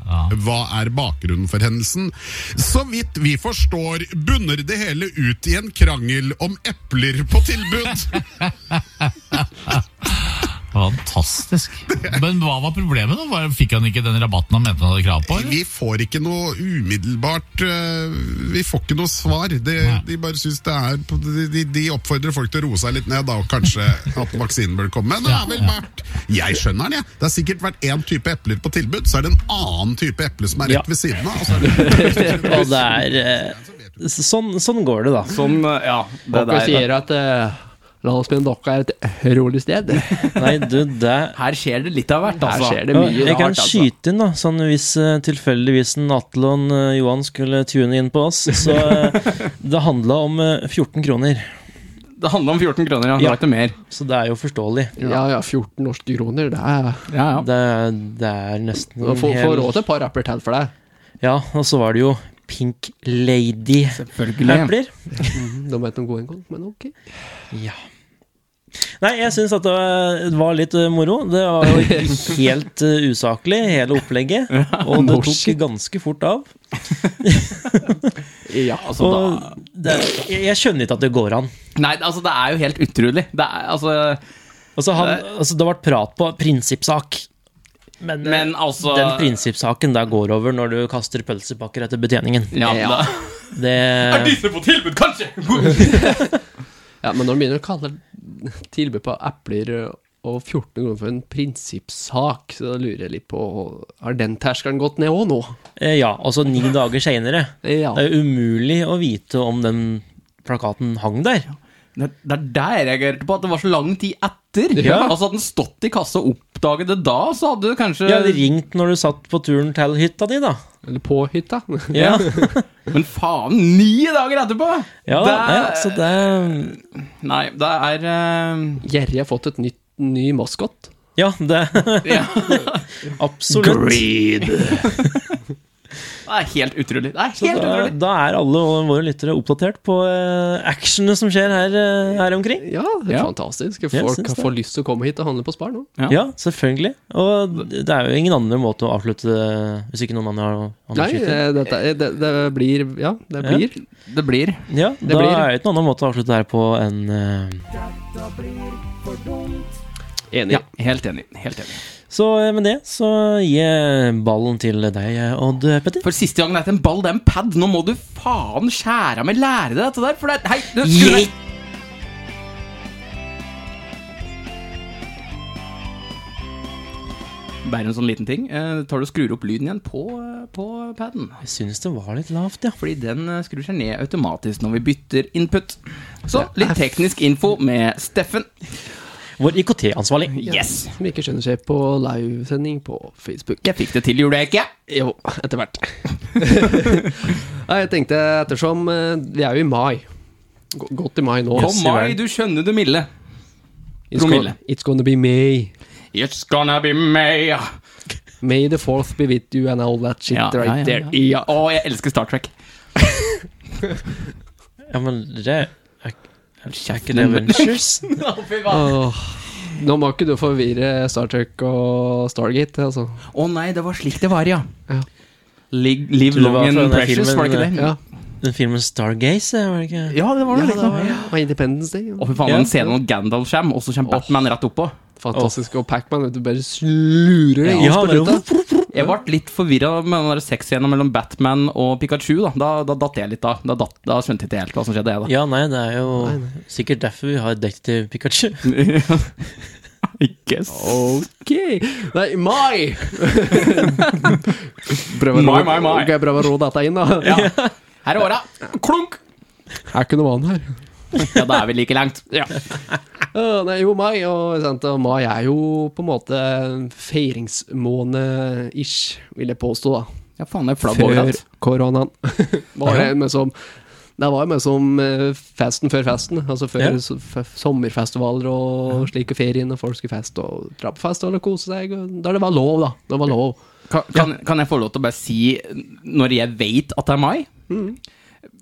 Speaker 4: Hva er bakgrunnen for hendelsen? Så vidt vi forstår, bunner det hele ut i en krangel om epler på tilbud.
Speaker 5: Fantastisk. Men hva var problemet? da? Var- Fikk han ikke den rabatten han mente han hadde krav på? eller?
Speaker 4: Vi får ikke noe umiddelbart øh, Vi får ikke noe svar. Det,
Speaker 5: Nei.
Speaker 4: de bare synes det er de- de, de oppfordrer folk til å roe seg litt ned, da, og kanskje at vaksinen bør komme. Men det er vel vært Jeg skjønner den, jeg. Det er sikkert vært én type epler på tilbud, så er det en annen type eple som er
Speaker 3: Ja.
Speaker 4: rett ved siden av. Og så er det,
Speaker 3: Og det er eh, Sånn, sånn går det, da.
Speaker 2: Sånn, ja. Det
Speaker 1: Dere sier at uh, landsbyen Dokka er et rolig sted.
Speaker 3: Nei, du, det
Speaker 2: <laughs> Her skjer det litt av hvert,
Speaker 1: Her
Speaker 2: altså.
Speaker 1: skjer det mye
Speaker 3: jeg kan
Speaker 1: rart, altså.
Speaker 3: skyte inn, da. Sånn hvis eh, tilfeldigvis en Atle og en eh, Johan skulle tune inn på oss. Så eh, det handla om eh, 14 kroner.
Speaker 2: Det handler om 14 kroner, ja. Det
Speaker 3: Ja.
Speaker 2: var ikke mer.
Speaker 3: Så det er jo forståelig.
Speaker 1: Ja ja, 14 norske kroner, det er
Speaker 2: Ja, ja.
Speaker 3: Det, er- det er nesten
Speaker 2: Mm,
Speaker 1: Få få
Speaker 3: hel-
Speaker 1: råd til et par rapper til for deg.
Speaker 3: Ja, og så var det jo Pink Lady-epler.
Speaker 2: Selvfølgelig.
Speaker 1: De vet noen gode en gang, men ok.
Speaker 3: Ja. Nei, jeg syns at det var- det var litt eh, moro. Det var jo
Speaker 2: <laughs>
Speaker 3: helt eh, usaklig, hele opplegget. Og det tok ganske fort av.
Speaker 1: Ja,
Speaker 2: Altså, da,
Speaker 3: Og det, jeg, jeg skjønner ikke at det går an.
Speaker 2: nei, altså, det er jo helt utrolig. Det er, altså,
Speaker 3: Altså, han, altså, det har vært prat på prinsippsak. Men, eh,
Speaker 2: men altså
Speaker 3: den prinsippsaken der går over når du kaster pølsepakker etter betjeningen.
Speaker 2: ja,
Speaker 1: Ja.
Speaker 2: da-
Speaker 3: Det,
Speaker 2: disse på tilbud, kanskje?
Speaker 1: Ja, men når de begynner å kalle tilbud på epler og 14 kroner for en prinsippsak, så da lurer jeg litt på Har den terskelen gått ned òg nå?
Speaker 3: eh, ja, altså ni dager seinere.
Speaker 1: Ja.
Speaker 3: Det er jo umulig å vite om den plakaten hang der.
Speaker 2: Det det er der jeg reagerte på, at det var så lang tid etter.
Speaker 3: Ja.
Speaker 2: Altså Hadde den stått i kassa og oppdaget det da, så hadde du kanskje
Speaker 3: Du hadde ringt når du satt på turen til hytta di, da.
Speaker 1: Eller på hytta?
Speaker 2: ja. Men faen, ni dager etterpå!
Speaker 3: Ja,
Speaker 2: det
Speaker 3: nei,
Speaker 2: er,
Speaker 3: altså det
Speaker 2: Nei, det er eh,
Speaker 1: <laughs> Gjerrig har fått et nytt, ny maskott.
Speaker 3: Ja, det
Speaker 2: ja.
Speaker 3: <laughs> Absolutt.
Speaker 2: <laughs> Det er helt utrolig. Det er
Speaker 3: Så
Speaker 2: helt
Speaker 3: Da,
Speaker 2: utrolig.
Speaker 3: da er alle våre lyttere oppdatert på eh, actionene som skjer her, eh, her omkring.
Speaker 1: Ja,
Speaker 2: Ja.
Speaker 1: fantastisk.
Speaker 3: jeg
Speaker 1: Folk
Speaker 3: syns
Speaker 1: har
Speaker 3: det.
Speaker 1: får lyst til å komme hit og handle på Spar nå.
Speaker 2: Ja.
Speaker 3: Ja, selvfølgelig. Og det er jo ingen andre måte å avslutte det hvis ikke noen andre har andre
Speaker 1: Nei,
Speaker 3: skyter.
Speaker 1: eh, dette, eh, det, det blir Ja, det
Speaker 3: Ja.
Speaker 1: blir.
Speaker 2: Det blir
Speaker 3: Ja, da
Speaker 1: blir-
Speaker 3: er det ikke noen annen måte å avslutte det her på enn eh,
Speaker 1: Enig.
Speaker 2: Ja, helt enig. Helt enig.
Speaker 3: Så eh, med det så gir jeg ballen til deg, eh, Odd Petter.
Speaker 2: For siste gangen etter en ball, det er en pad. Nå må du faen skjære av meg lære deg dette der, for det er Hei, du, skru ned. Bare en sånn liten ting. Eh, tar du og Skrur opp lyden igjen på, eh, på paden.
Speaker 3: Jeg syns det var litt lavt, ja.
Speaker 2: Fordi den eh, skrur seg ned automatisk når vi bytter input. Så litt teknisk info med Steffen.
Speaker 3: Vår IKT-ansvarlig.
Speaker 2: Yes!
Speaker 1: Som ikke skjønner seg på livesending på Facebook.
Speaker 2: Jeg fikk det til, gjorde jeg ikke?
Speaker 1: Jo, etter
Speaker 2: <laughs>
Speaker 1: hvert. Nei, jeg tenkte ettersom eh, Vi er jo i mai. Gå- Godt i mai nå.
Speaker 2: På mai, du skjønner du, Mille.
Speaker 1: It's,
Speaker 2: promille.
Speaker 1: gonna, it's gonna be May.
Speaker 2: It's gonna be me. Ja,
Speaker 1: May the fourth be with you and all that shit
Speaker 2: ja, ja,
Speaker 1: right
Speaker 2: ja.
Speaker 1: there. Ja.
Speaker 2: Å, jeg elsker Star Trek.
Speaker 3: Ja, men det er, er ikke det Ventures?
Speaker 2: Å, fy faen.
Speaker 1: Åh, nå må ikke du forvirre Star Trek og Stargate, altså.
Speaker 2: Å nei, det var slik det var, ja.
Speaker 1: Ja.
Speaker 2: Lig- Live
Speaker 3: Det
Speaker 2: long
Speaker 3: var fra
Speaker 2: and
Speaker 3: den der
Speaker 2: precious,
Speaker 3: filmen,
Speaker 2: var det ikke det?
Speaker 1: Ja,
Speaker 3: Den filmen Stargaze, var det ikke?
Speaker 2: Ja, det var
Speaker 1: ja
Speaker 2: det.
Speaker 1: det
Speaker 2: liksom.
Speaker 1: var og Independence Day.
Speaker 2: Å,
Speaker 1: Ja.
Speaker 2: fy faen,
Speaker 3: Ja.
Speaker 2: den scenen når Gandalf kommer, og så kommer Batman rett oppå.
Speaker 1: Fantastisk. Og Pacman, vet du, bare slurer det inn
Speaker 3: Ja,
Speaker 1: på
Speaker 3: det-
Speaker 1: ruta.
Speaker 2: Jeg ble litt forvirra med den der sexscenen mellom Batman og Pikachu. Da Da, da datt jeg litt, da. Da, datt, da skjønte jeg ikke helt hva som skjedde, jeg,
Speaker 3: Ja, nei, det er jo sikkert derfor vi har Detektiv Pikachu. <laughs>
Speaker 2: da. I guess.
Speaker 1: Ok Nei,
Speaker 2: <laughs>
Speaker 1: mai! prøv å
Speaker 2: Mai,
Speaker 1: ro-
Speaker 2: mai, mai.
Speaker 1: Ok, prøv å ro dette inn, da.
Speaker 2: Ja. Her er åra. Klunk!
Speaker 1: Er ikke noe vann her.
Speaker 2: Ja, da er vi like langt. Ja.
Speaker 1: Åh, nei, jo, mai. Og, sant, og mai er jo på en måte en feiringsmåned-ish, vil jeg påstå, da.
Speaker 2: ja faen, det er flagg
Speaker 1: før
Speaker 2: overalt.
Speaker 1: koronaen. var det, med som, det var jo med som eh, festen før festen. Altså før
Speaker 3: Ja.
Speaker 1: s- f- sommerfestivaler og slike ferien, og folk skulle feste og dra på fest og kose seg. og Da det var lov, da. Da var lov.
Speaker 2: Kan, kan, kan jeg få lov til å bare si, når jeg vet at det er mai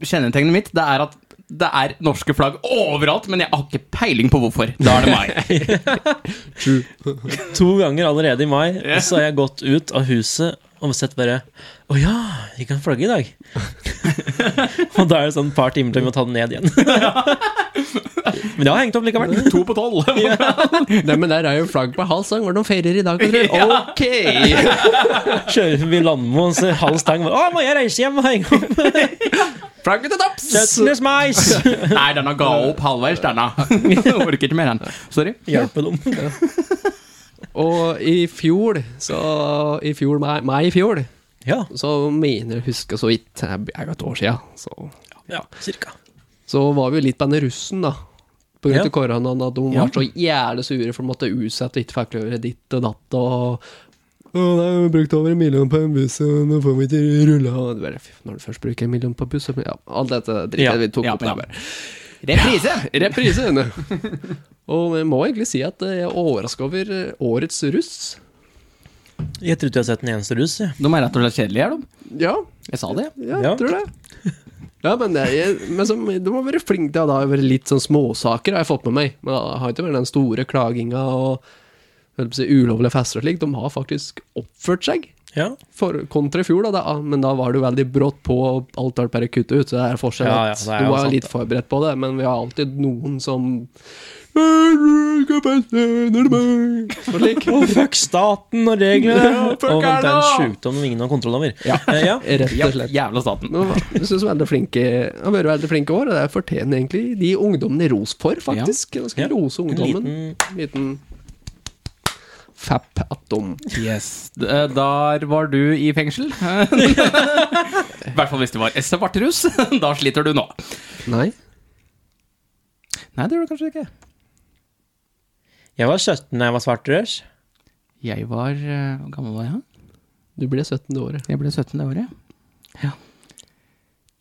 Speaker 2: Kjennetegnet mitt det er at det er norske flagg overalt, men jeg har ikke peiling på hvorfor. Da er det <laughs> mai.
Speaker 3: To ganger allerede i mai og så har jeg gått ut av huset og sett bare Å ja, vi kan flagge i dag. <laughs> og da er det sånn et par timer til vi må ta den ned igjen. <laughs> Men det har hengt opp likevel.
Speaker 2: To på
Speaker 1: <laughs>
Speaker 2: tolv!
Speaker 1: Nei, men der er jo flagg på halv sang. Var det noen ferier i dag? Tror jeg? Ok!
Speaker 3: Kjører forbi Landmo og ser halv stang. Å, må jeg reise hjem og henge opp <laughs>
Speaker 1: Flagget til topps!
Speaker 3: kjøttenes <laughs> mais?
Speaker 2: Nei, denne ga opp halvveis, denne. <laughs> Orker ikke mer, den. Sorry.
Speaker 3: Hjelpe dem.
Speaker 1: Og i fjor, så I fjor, mai, mai i fjor,
Speaker 3: <laughs> Ja.
Speaker 1: så mener jeg husker så vidt Det er jo et år sia, så
Speaker 3: ja, cirka.
Speaker 1: Så var vi jo litt på den russen, da. På grunn
Speaker 3: Ja.
Speaker 1: av koronaen, at de
Speaker 3: Ja.
Speaker 1: var så jævlig sure for de måtte utsette og ikke fikk levere ditt og datt og Å, det er jo brukt over en million på en buss, og nå får vi ikke rulla og det bare, fy, Når du først bruker en million på buss, så ja, Alt dette drittet
Speaker 3: Ja.
Speaker 1: vi tok
Speaker 2: Ja,
Speaker 1: opp
Speaker 2: ja.
Speaker 1: der. bare.
Speaker 2: Reprise!
Speaker 1: Reprise! henne. og jeg må egentlig si at jeg er overraska over årets russ.
Speaker 3: Jeg tror ikke jeg har sett en eneste russ. jeg.
Speaker 2: De er rett og slett kjedelige, er de.
Speaker 1: Ja,
Speaker 2: Jeg sa det.
Speaker 1: ja,
Speaker 3: Ja.
Speaker 1: jeg tror det. <laughs> Ja, men, det, jeg, men som, de har vært flinke til det. har vært litt sånn småsaker, har jeg fått med meg. Men det har ikke vært den store klaginga og holdt på å si, ulovlige fester og slikt. De har faktisk oppført seg.
Speaker 3: Ja.
Speaker 1: For, kontra i fjor, da, da, men da var det jo veldig brått på, og alt ble bare kuttet ut. Så det er forskjell.
Speaker 3: Ja, ja,
Speaker 1: at
Speaker 3: det
Speaker 1: du
Speaker 3: er jo
Speaker 1: var
Speaker 3: sant,
Speaker 1: litt
Speaker 3: det.
Speaker 1: forberedt på det, men vi har alltid noen som Og slik.
Speaker 3: <laughs> Å, fuck staten og reglene!
Speaker 1: Ja, fuck
Speaker 3: og vent, det er en
Speaker 1: Erna!
Speaker 3: sjukdom ingen har kontroll over. Ja. ja.
Speaker 1: Rett
Speaker 2: Ja,
Speaker 1: og slett.
Speaker 2: jævla staten.
Speaker 1: Nå, jeg synes veldig flinke Han har vært veldig flinke i år, og det fortjener egentlig de ungdommene ros for, faktisk. Da skal vi
Speaker 3: Ja.
Speaker 1: rose ungdommen. Liten, fapp at de
Speaker 2: Yes. D- eh, Der var du i fengsel. <laughs> I hvert fall hvis du var svartrus. <laughs> Da sliter du nå.
Speaker 1: Nei.
Speaker 2: Nei, det gjorde du kanskje ikke.
Speaker 3: Jeg var 17 da jeg var svartrørs.
Speaker 2: Jeg var eh, Hvor gammel var jeg?
Speaker 1: Du ble 17 det året.
Speaker 2: Jeg ble 17 det året. Ja.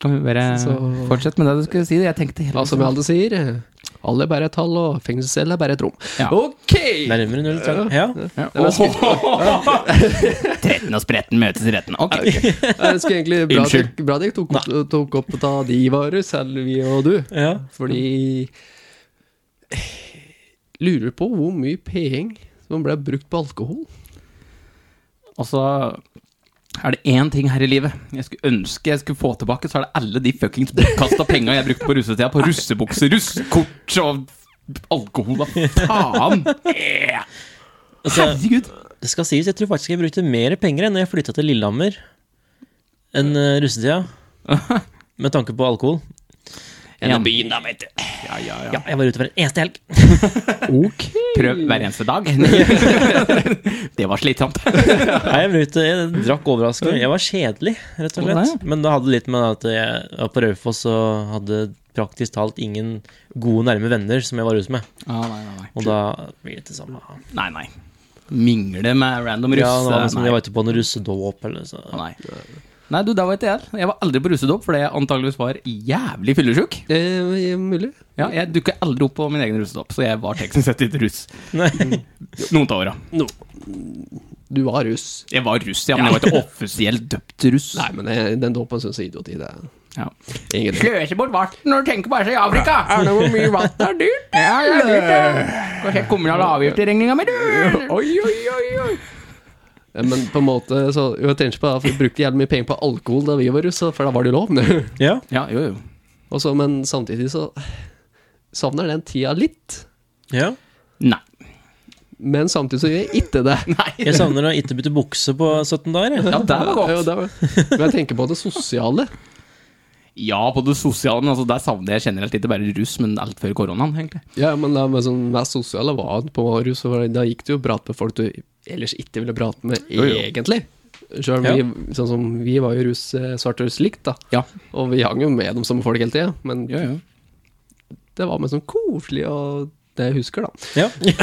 Speaker 2: Kan vi bare
Speaker 1: Så-
Speaker 2: fortsette med det du skulle si? Jeg tenkte hele
Speaker 1: Ja, som jeg alltid sier, alle er bare et tall, og fengselscelle er bare et rom.
Speaker 2: Ja.
Speaker 1: Ok!
Speaker 3: Nærmere null. tror jeg. Ja.
Speaker 2: <laughs> Tretten og spretten møtes i retten. Ok.
Speaker 1: Jeg skulle egentlig bra at
Speaker 2: Unnskyld.
Speaker 1: jeg- bra at jeg tok, opp- tok opp et av de varer, selv vi og du.
Speaker 3: Ja.
Speaker 1: Fordi Lurer på hvor mye penger som ble brukt på alkohol.
Speaker 2: Og så er det én ting her i livet jeg skulle ønske jeg skulle få tilbake, så er det alle de fuckings bortkasta penga jeg brukte på russetida. På russebukser, russekort og alkohol, da. Faen! Eh. Herregud.
Speaker 3: Det skal sies, jeg tror faktisk jeg brukte mer penger enn når jeg flytta til Lillehammer enn eh, russetida. <laughs> Med tanke på alkohol.
Speaker 2: Gjennom byen, da, vet du. Ja, ja, ja.
Speaker 3: Ja, jeg var ute hver eneste helg.
Speaker 1: Ok.
Speaker 2: Prøv hver eneste dag. <laughs> Det var slitsomt.
Speaker 3: Nei, jeg, brukte, jeg drakk overraskende. Jeg var kjedelig, rett
Speaker 2: Å,
Speaker 3: og
Speaker 2: nei.
Speaker 3: slett. Men det hadde litt med at jeg var på Raufoss og hadde praktisk talt ingen gode, nærme venner som jeg var ute med.
Speaker 2: Ah, nei, nei, nei.
Speaker 3: Og da blir det det samme.
Speaker 2: Nei, nei. Mingle med random russ.
Speaker 3: Ja, det var liksom,
Speaker 2: nei.
Speaker 3: jeg var ute på en russedåp eller så.
Speaker 2: Å, nei. nei, du, da var ikke jeg. Jeg var aldri på russedåp fordi jeg antageligvis var jævlig fyllesyk.
Speaker 1: Eh, mulig.
Speaker 2: Ja, jeg dukka aldri opp på min egen russedåp, så jeg var teknisk sett litt russ.
Speaker 3: <laughs>
Speaker 2: Noen av åra.
Speaker 1: Du var russ.
Speaker 2: Jeg var russ, ja, men jeg var ikke offisielt døpt russ.
Speaker 1: Nei, men jeg, den dåpen syns jeg er idioti. Det er
Speaker 2: Ja.
Speaker 1: ingenting.
Speaker 2: Sløser bort varten når du tenker bare seg i Afrika!
Speaker 1: Er det hvor mye vann det er dyrt?
Speaker 2: Ja, det er dyrt, ja. Kanskje jeg kommer av avgift i regninga mi, du!
Speaker 1: Oi, oi, oi, oi. Eh, Men på en måte så jo, Jeg tenker på det, for vi brukte jævlig mye penger på alkohol da vi var russ, for da var det jo lov. <laughs>
Speaker 3: Ja.
Speaker 2: Ja, jo, jo.
Speaker 1: Og så- men samtidig så savner den tida litt.
Speaker 3: ja.
Speaker 2: Nei.
Speaker 1: Men samtidig så gjør jeg ikke det.
Speaker 2: Nei.
Speaker 3: Jeg savner å ikke bytte bukse på 17 dager. jeg.
Speaker 2: Ja, der var
Speaker 1: Jo,
Speaker 2: godt.
Speaker 1: det var- Men jeg tenker på det sosiale.
Speaker 2: Ja, på det sosiale, altså, der savner jeg generelt ikke bare russ, men alt før koronaen, egentlig.
Speaker 1: Ja, men det med sånn, mest sosiale var på rus, for da gikk det jo å prate med folk du ellers ikke ville prate med,
Speaker 2: jo.
Speaker 1: egentlig. Selv om vi, sånn som, vi var jo rus, eh, svart russ likt, da.
Speaker 2: Ja.
Speaker 1: Og vi hang jo med dem som folk hele tida, men
Speaker 2: Jo, jo.
Speaker 1: det var med sånn koselig og det jeg husker, da.
Speaker 2: <laughs>
Speaker 3: Ja. Jeg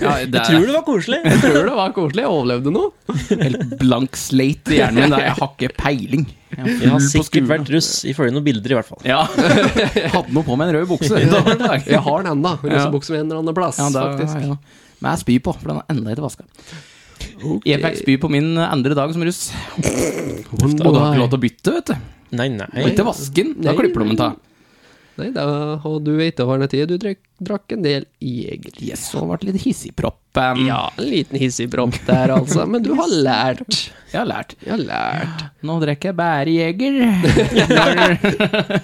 Speaker 2: Ja, det er
Speaker 3: tror det var koselig.
Speaker 2: <laughs>
Speaker 1: Jeg tror det var koselig. Jeg overlevde noe.
Speaker 2: helt blank slate i hjernen min. da. Jeg har ikke peiling.
Speaker 3: Jeg
Speaker 2: full
Speaker 3: har
Speaker 2: på
Speaker 3: sikkert
Speaker 2: skuen.
Speaker 3: vært russ ifølge noen bilder, i hvert fall.
Speaker 2: Ja. Jeg <laughs> hadde noe på meg en rød bukse.
Speaker 1: <laughs> Jeg har den ennå. Russebukse med en eller annen plass,
Speaker 2: Ja, det er-
Speaker 1: faktisk.
Speaker 2: ja. Men jeg spyr på, for den er enda ikke vaska. Jeg fikk spy på min andre dag som russ. Og du har ikke lov til å bytte, vet du.
Speaker 3: Nei, nei.
Speaker 2: Ikke vasken. Da
Speaker 1: Nei.
Speaker 2: klipper de den av.
Speaker 1: Nei, det var, og du vet det var en tid du drakk, drakk en del jeger.
Speaker 2: Yes, og ble litt hissigpropp. Um,
Speaker 1: Ja, en liten hissig promp der, altså. Men du har lært.
Speaker 2: Jeg har lært.
Speaker 1: Jeg har lært.
Speaker 2: Nå drikker jeg bare
Speaker 1: <laughs>
Speaker 2: Jeger.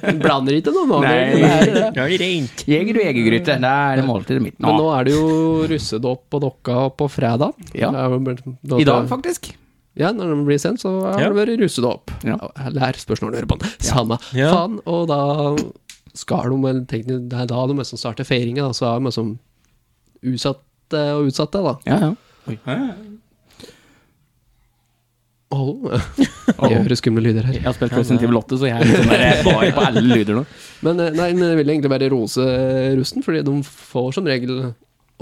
Speaker 1: Du blander ikke noe nå. men
Speaker 2: Nei.
Speaker 1: det er det.
Speaker 3: Nå er det rent.
Speaker 2: Jeger og jegergryte. Det er måltidet mitt
Speaker 1: Men nå
Speaker 2: nå.
Speaker 1: er det jo russedåp på Dokka på fredag.
Speaker 2: Ja.
Speaker 1: Det er jo blant-
Speaker 2: I dag, faktisk.
Speaker 1: Ja, når den blir sendt, så har
Speaker 3: Ja.
Speaker 1: det vært russedåp.
Speaker 2: Ja.
Speaker 1: Lær spørsmål du hører på. den. Samme
Speaker 3: Ja.
Speaker 1: faen. Og da skal de vel tenke Det er da de liksom starter feiringa, da. Så er de liksom utsatte og utsatte, da.
Speaker 2: Ja, ja. Oi.
Speaker 1: Oh.
Speaker 3: <laughs>
Speaker 1: Jeg hører skumle lyder her.
Speaker 2: Jeg har spilt Resident Evil 8, så jeg er litt sånn der, jeg var på alle lyder nå.
Speaker 1: Men eh, nei, men jeg vil egentlig bare rose russen, fordi de får som regel,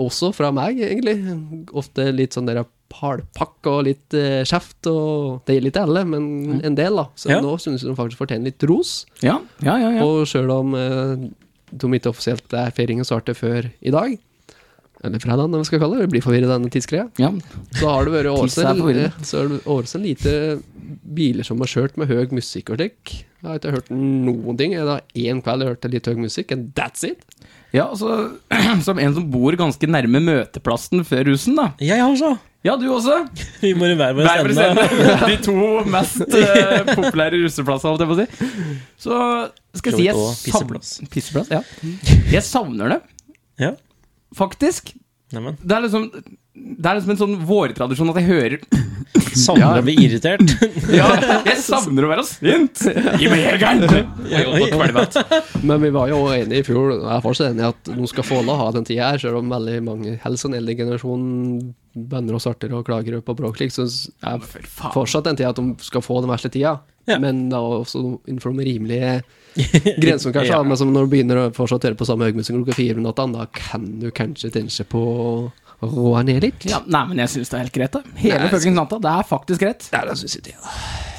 Speaker 1: også fra meg egentlig, ofte litt sånn der palpakk og litt eh, kjeft, og det gjelder ikke alle, men en del da. Så
Speaker 3: Ja.
Speaker 1: nå synes jeg de faktisk fortjener litt ros,
Speaker 2: Ja, ja, ja. ja.
Speaker 1: og selv om eh, de ikke offisielt er feiringen starter før i dag, eller fredag, når vi skal kalle det, vi blir forvirret av denne tidsgreia,
Speaker 2: ja.
Speaker 1: så har det vært
Speaker 2: <laughs> Tids er
Speaker 1: årsen,
Speaker 2: forvirrende.
Speaker 1: eh, så er det årsen lite biler som har kjørt med høy musikk og slik. Jeg har ikke hørt noen ting. Det er én kveld jeg hørte litt høy musikk, and that's it.
Speaker 2: ja altså, <clears throat> som en som bor ganske nærme møteplassen før russen, da.
Speaker 3: Jeg også.
Speaker 2: Ja, du også.
Speaker 3: Vi må i hver vår
Speaker 2: Hver
Speaker 3: ende.
Speaker 2: president. <laughs> De to mest eh, populære russeplassene, holdt jeg på å si. Så skal jeg si jeg
Speaker 3: Og
Speaker 2: savner
Speaker 3: pisseplass.
Speaker 2: Pisseplass, ja. Jeg savner det,
Speaker 3: Ja.
Speaker 2: faktisk.
Speaker 3: Neimen,
Speaker 2: Det er liksom det er liksom en sånn vårtradisjon at jeg hører
Speaker 3: savner å bli
Speaker 2: <laughs>
Speaker 3: irritert.
Speaker 2: Ja, jeg savner å være sint! Gi meg jegeren! Oi, oi, oi.
Speaker 1: Men vi var jo også enige i fjor, og jeg er fortsatt enig i at nå skal få lov å ha den tida her, selv om veldig mange, helst den eldre generasjonen, bønder og starter og klager på bråk, slik, så er
Speaker 2: For faen.
Speaker 1: fortsatt den tida at de skal få den verste tida.
Speaker 3: Ja.
Speaker 1: Men da også innenfor de rimelige grensene, kanskje.
Speaker 3: Ja.
Speaker 1: da. Men som når du begynner å fortsatt høre på samme høgmusikk klokka fire om natta, da kan du kanskje tenke på å roe ned litt.
Speaker 2: Ja, nei, men jeg syns det er helt greit, da. Hele
Speaker 1: Nei,
Speaker 2: fuckings natta. Det er faktisk greit.
Speaker 1: Ja, det syns jeg det, da.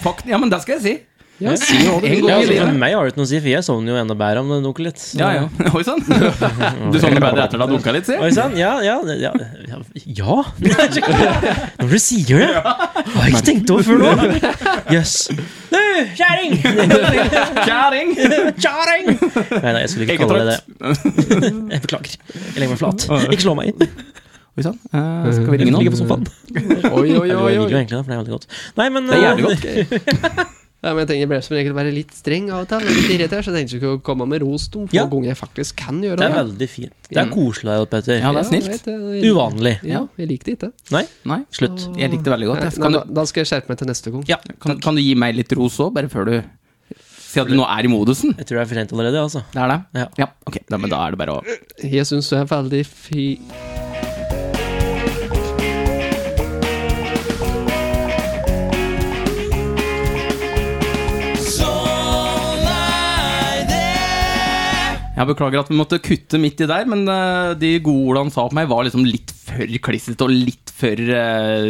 Speaker 2: Fakt, ja, men det skal jeg si.
Speaker 1: Ja,
Speaker 3: si
Speaker 2: hva du vil.
Speaker 3: Ja,
Speaker 2: Ja,
Speaker 3: altså,
Speaker 2: ja.
Speaker 3: for meg har det ikke noe å si, for jeg sovner jo enda bedre om det dunker litt. Så-
Speaker 2: Ja, ja. <laughs> Oi sann. Du sovner bedre etter at du har dunka litt, si.
Speaker 3: <laughs> Oi sann, ja, ja, ja, ja, ja. <laughs> Når du sier det! Det har jeg ikke tenkt over før nå.
Speaker 2: <laughs>
Speaker 3: Jøss. Du, kjerring!
Speaker 2: Kjæring!
Speaker 3: Kjerring! Nei, nei, jeg skulle ikke kalle det det. Jeg beklager. Jeg legger meg flat. Ikke slå meg inn.
Speaker 2: Oi sann. Eh, skal vi ringe
Speaker 3: Ligger på
Speaker 2: nå?
Speaker 3: sofaen.
Speaker 1: Oi, oi,
Speaker 3: Jeg
Speaker 1: oi.
Speaker 3: liker jo
Speaker 1: oi.
Speaker 3: egentlig det, for det er veldig godt. Nei, men
Speaker 2: Det er jævlig godt.
Speaker 1: Ja, men jeg tenker jeg ble som regel bare litt streng av og til. og Litt irritert, så jeg tenkte ikke å komme med ros de få
Speaker 3: Ja.
Speaker 1: ganger jeg faktisk kan
Speaker 3: eh, Det
Speaker 1: gjøre
Speaker 3: er
Speaker 1: det.
Speaker 3: veldig fint. Det er koselig av deg,
Speaker 2: Ja,
Speaker 3: Petter.
Speaker 2: det er
Speaker 1: Ja, jeg
Speaker 2: snilt.
Speaker 1: vet det. Jeg-
Speaker 3: Uvanlig.
Speaker 1: Ja, jeg likte det ikke.
Speaker 3: Nei,
Speaker 2: Nei,
Speaker 3: slutt.
Speaker 2: jeg likte det veldig godt.
Speaker 1: Nei,
Speaker 2: jeg. Kan
Speaker 1: da,
Speaker 2: du,
Speaker 1: da skal jeg skjerpe meg til neste gang.
Speaker 3: Ja.
Speaker 2: kan, kan du gi meg litt ros òg, bare før du sier at du nå er i modusen?
Speaker 3: Jeg tror det er for sent allerede, altså.
Speaker 2: Det er det?
Speaker 3: Ja.
Speaker 2: Ja, ok. Da, men da er det bare å
Speaker 1: Jeg syns du er veldig fi...
Speaker 2: Jeg beklager at vi måtte kutte midt i der, men eh, de gode ordene han sa på meg, var liksom litt for klissete og litt for eh,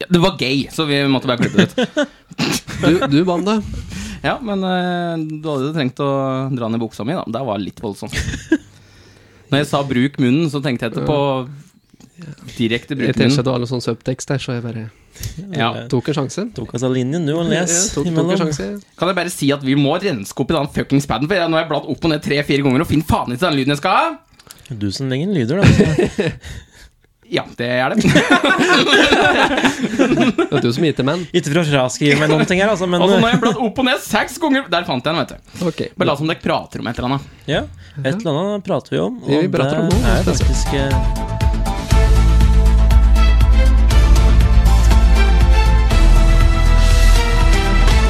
Speaker 2: ja, Det var gay, så vi måtte bare
Speaker 1: <laughs>
Speaker 2: klippe det ut.
Speaker 1: Du, du vant det.
Speaker 2: Ja, men eh, du hadde jo trengt å dra ned buksa mi, da. Det var
Speaker 1: <laughs>
Speaker 2: litt voldsomt. Når jeg sa 'bruk munnen', så tenkte jeg etterpå direkte
Speaker 1: Jeg tenkte
Speaker 2: bruk
Speaker 1: at
Speaker 2: munnen.
Speaker 1: det var noe sånn subtekst der, så jeg bare
Speaker 2: Ja.
Speaker 1: tok en sjanse.
Speaker 3: Tok altså linjen, du, og les
Speaker 1: Ja, tok, tok
Speaker 3: imellom.
Speaker 1: en sjanse.
Speaker 2: Kan jeg bare si at vi må renske opp i den fuckings paden, for jeg, nå har jeg bladd opp og ned tre-fire ganger og finner faen ikke den lyden jeg skal ha.
Speaker 3: Du som lenger lyder, da. Altså.
Speaker 2: Ja, det er det.
Speaker 1: Det er du som IT menn.
Speaker 3: Ikke for å fraskrive meg noen ting her, altså, men
Speaker 2: Og så nå har jeg bladd opp og ned seks ganger. Der fant jeg den, vet du.
Speaker 1: Ok.
Speaker 2: Bare la som dere prater om et eller annet.
Speaker 3: eh, ja, et eller annet prater vi om. Og
Speaker 1: Vi prater om
Speaker 3: det
Speaker 1: noe
Speaker 3: er
Speaker 1: spesielt.
Speaker 3: faktisk eh,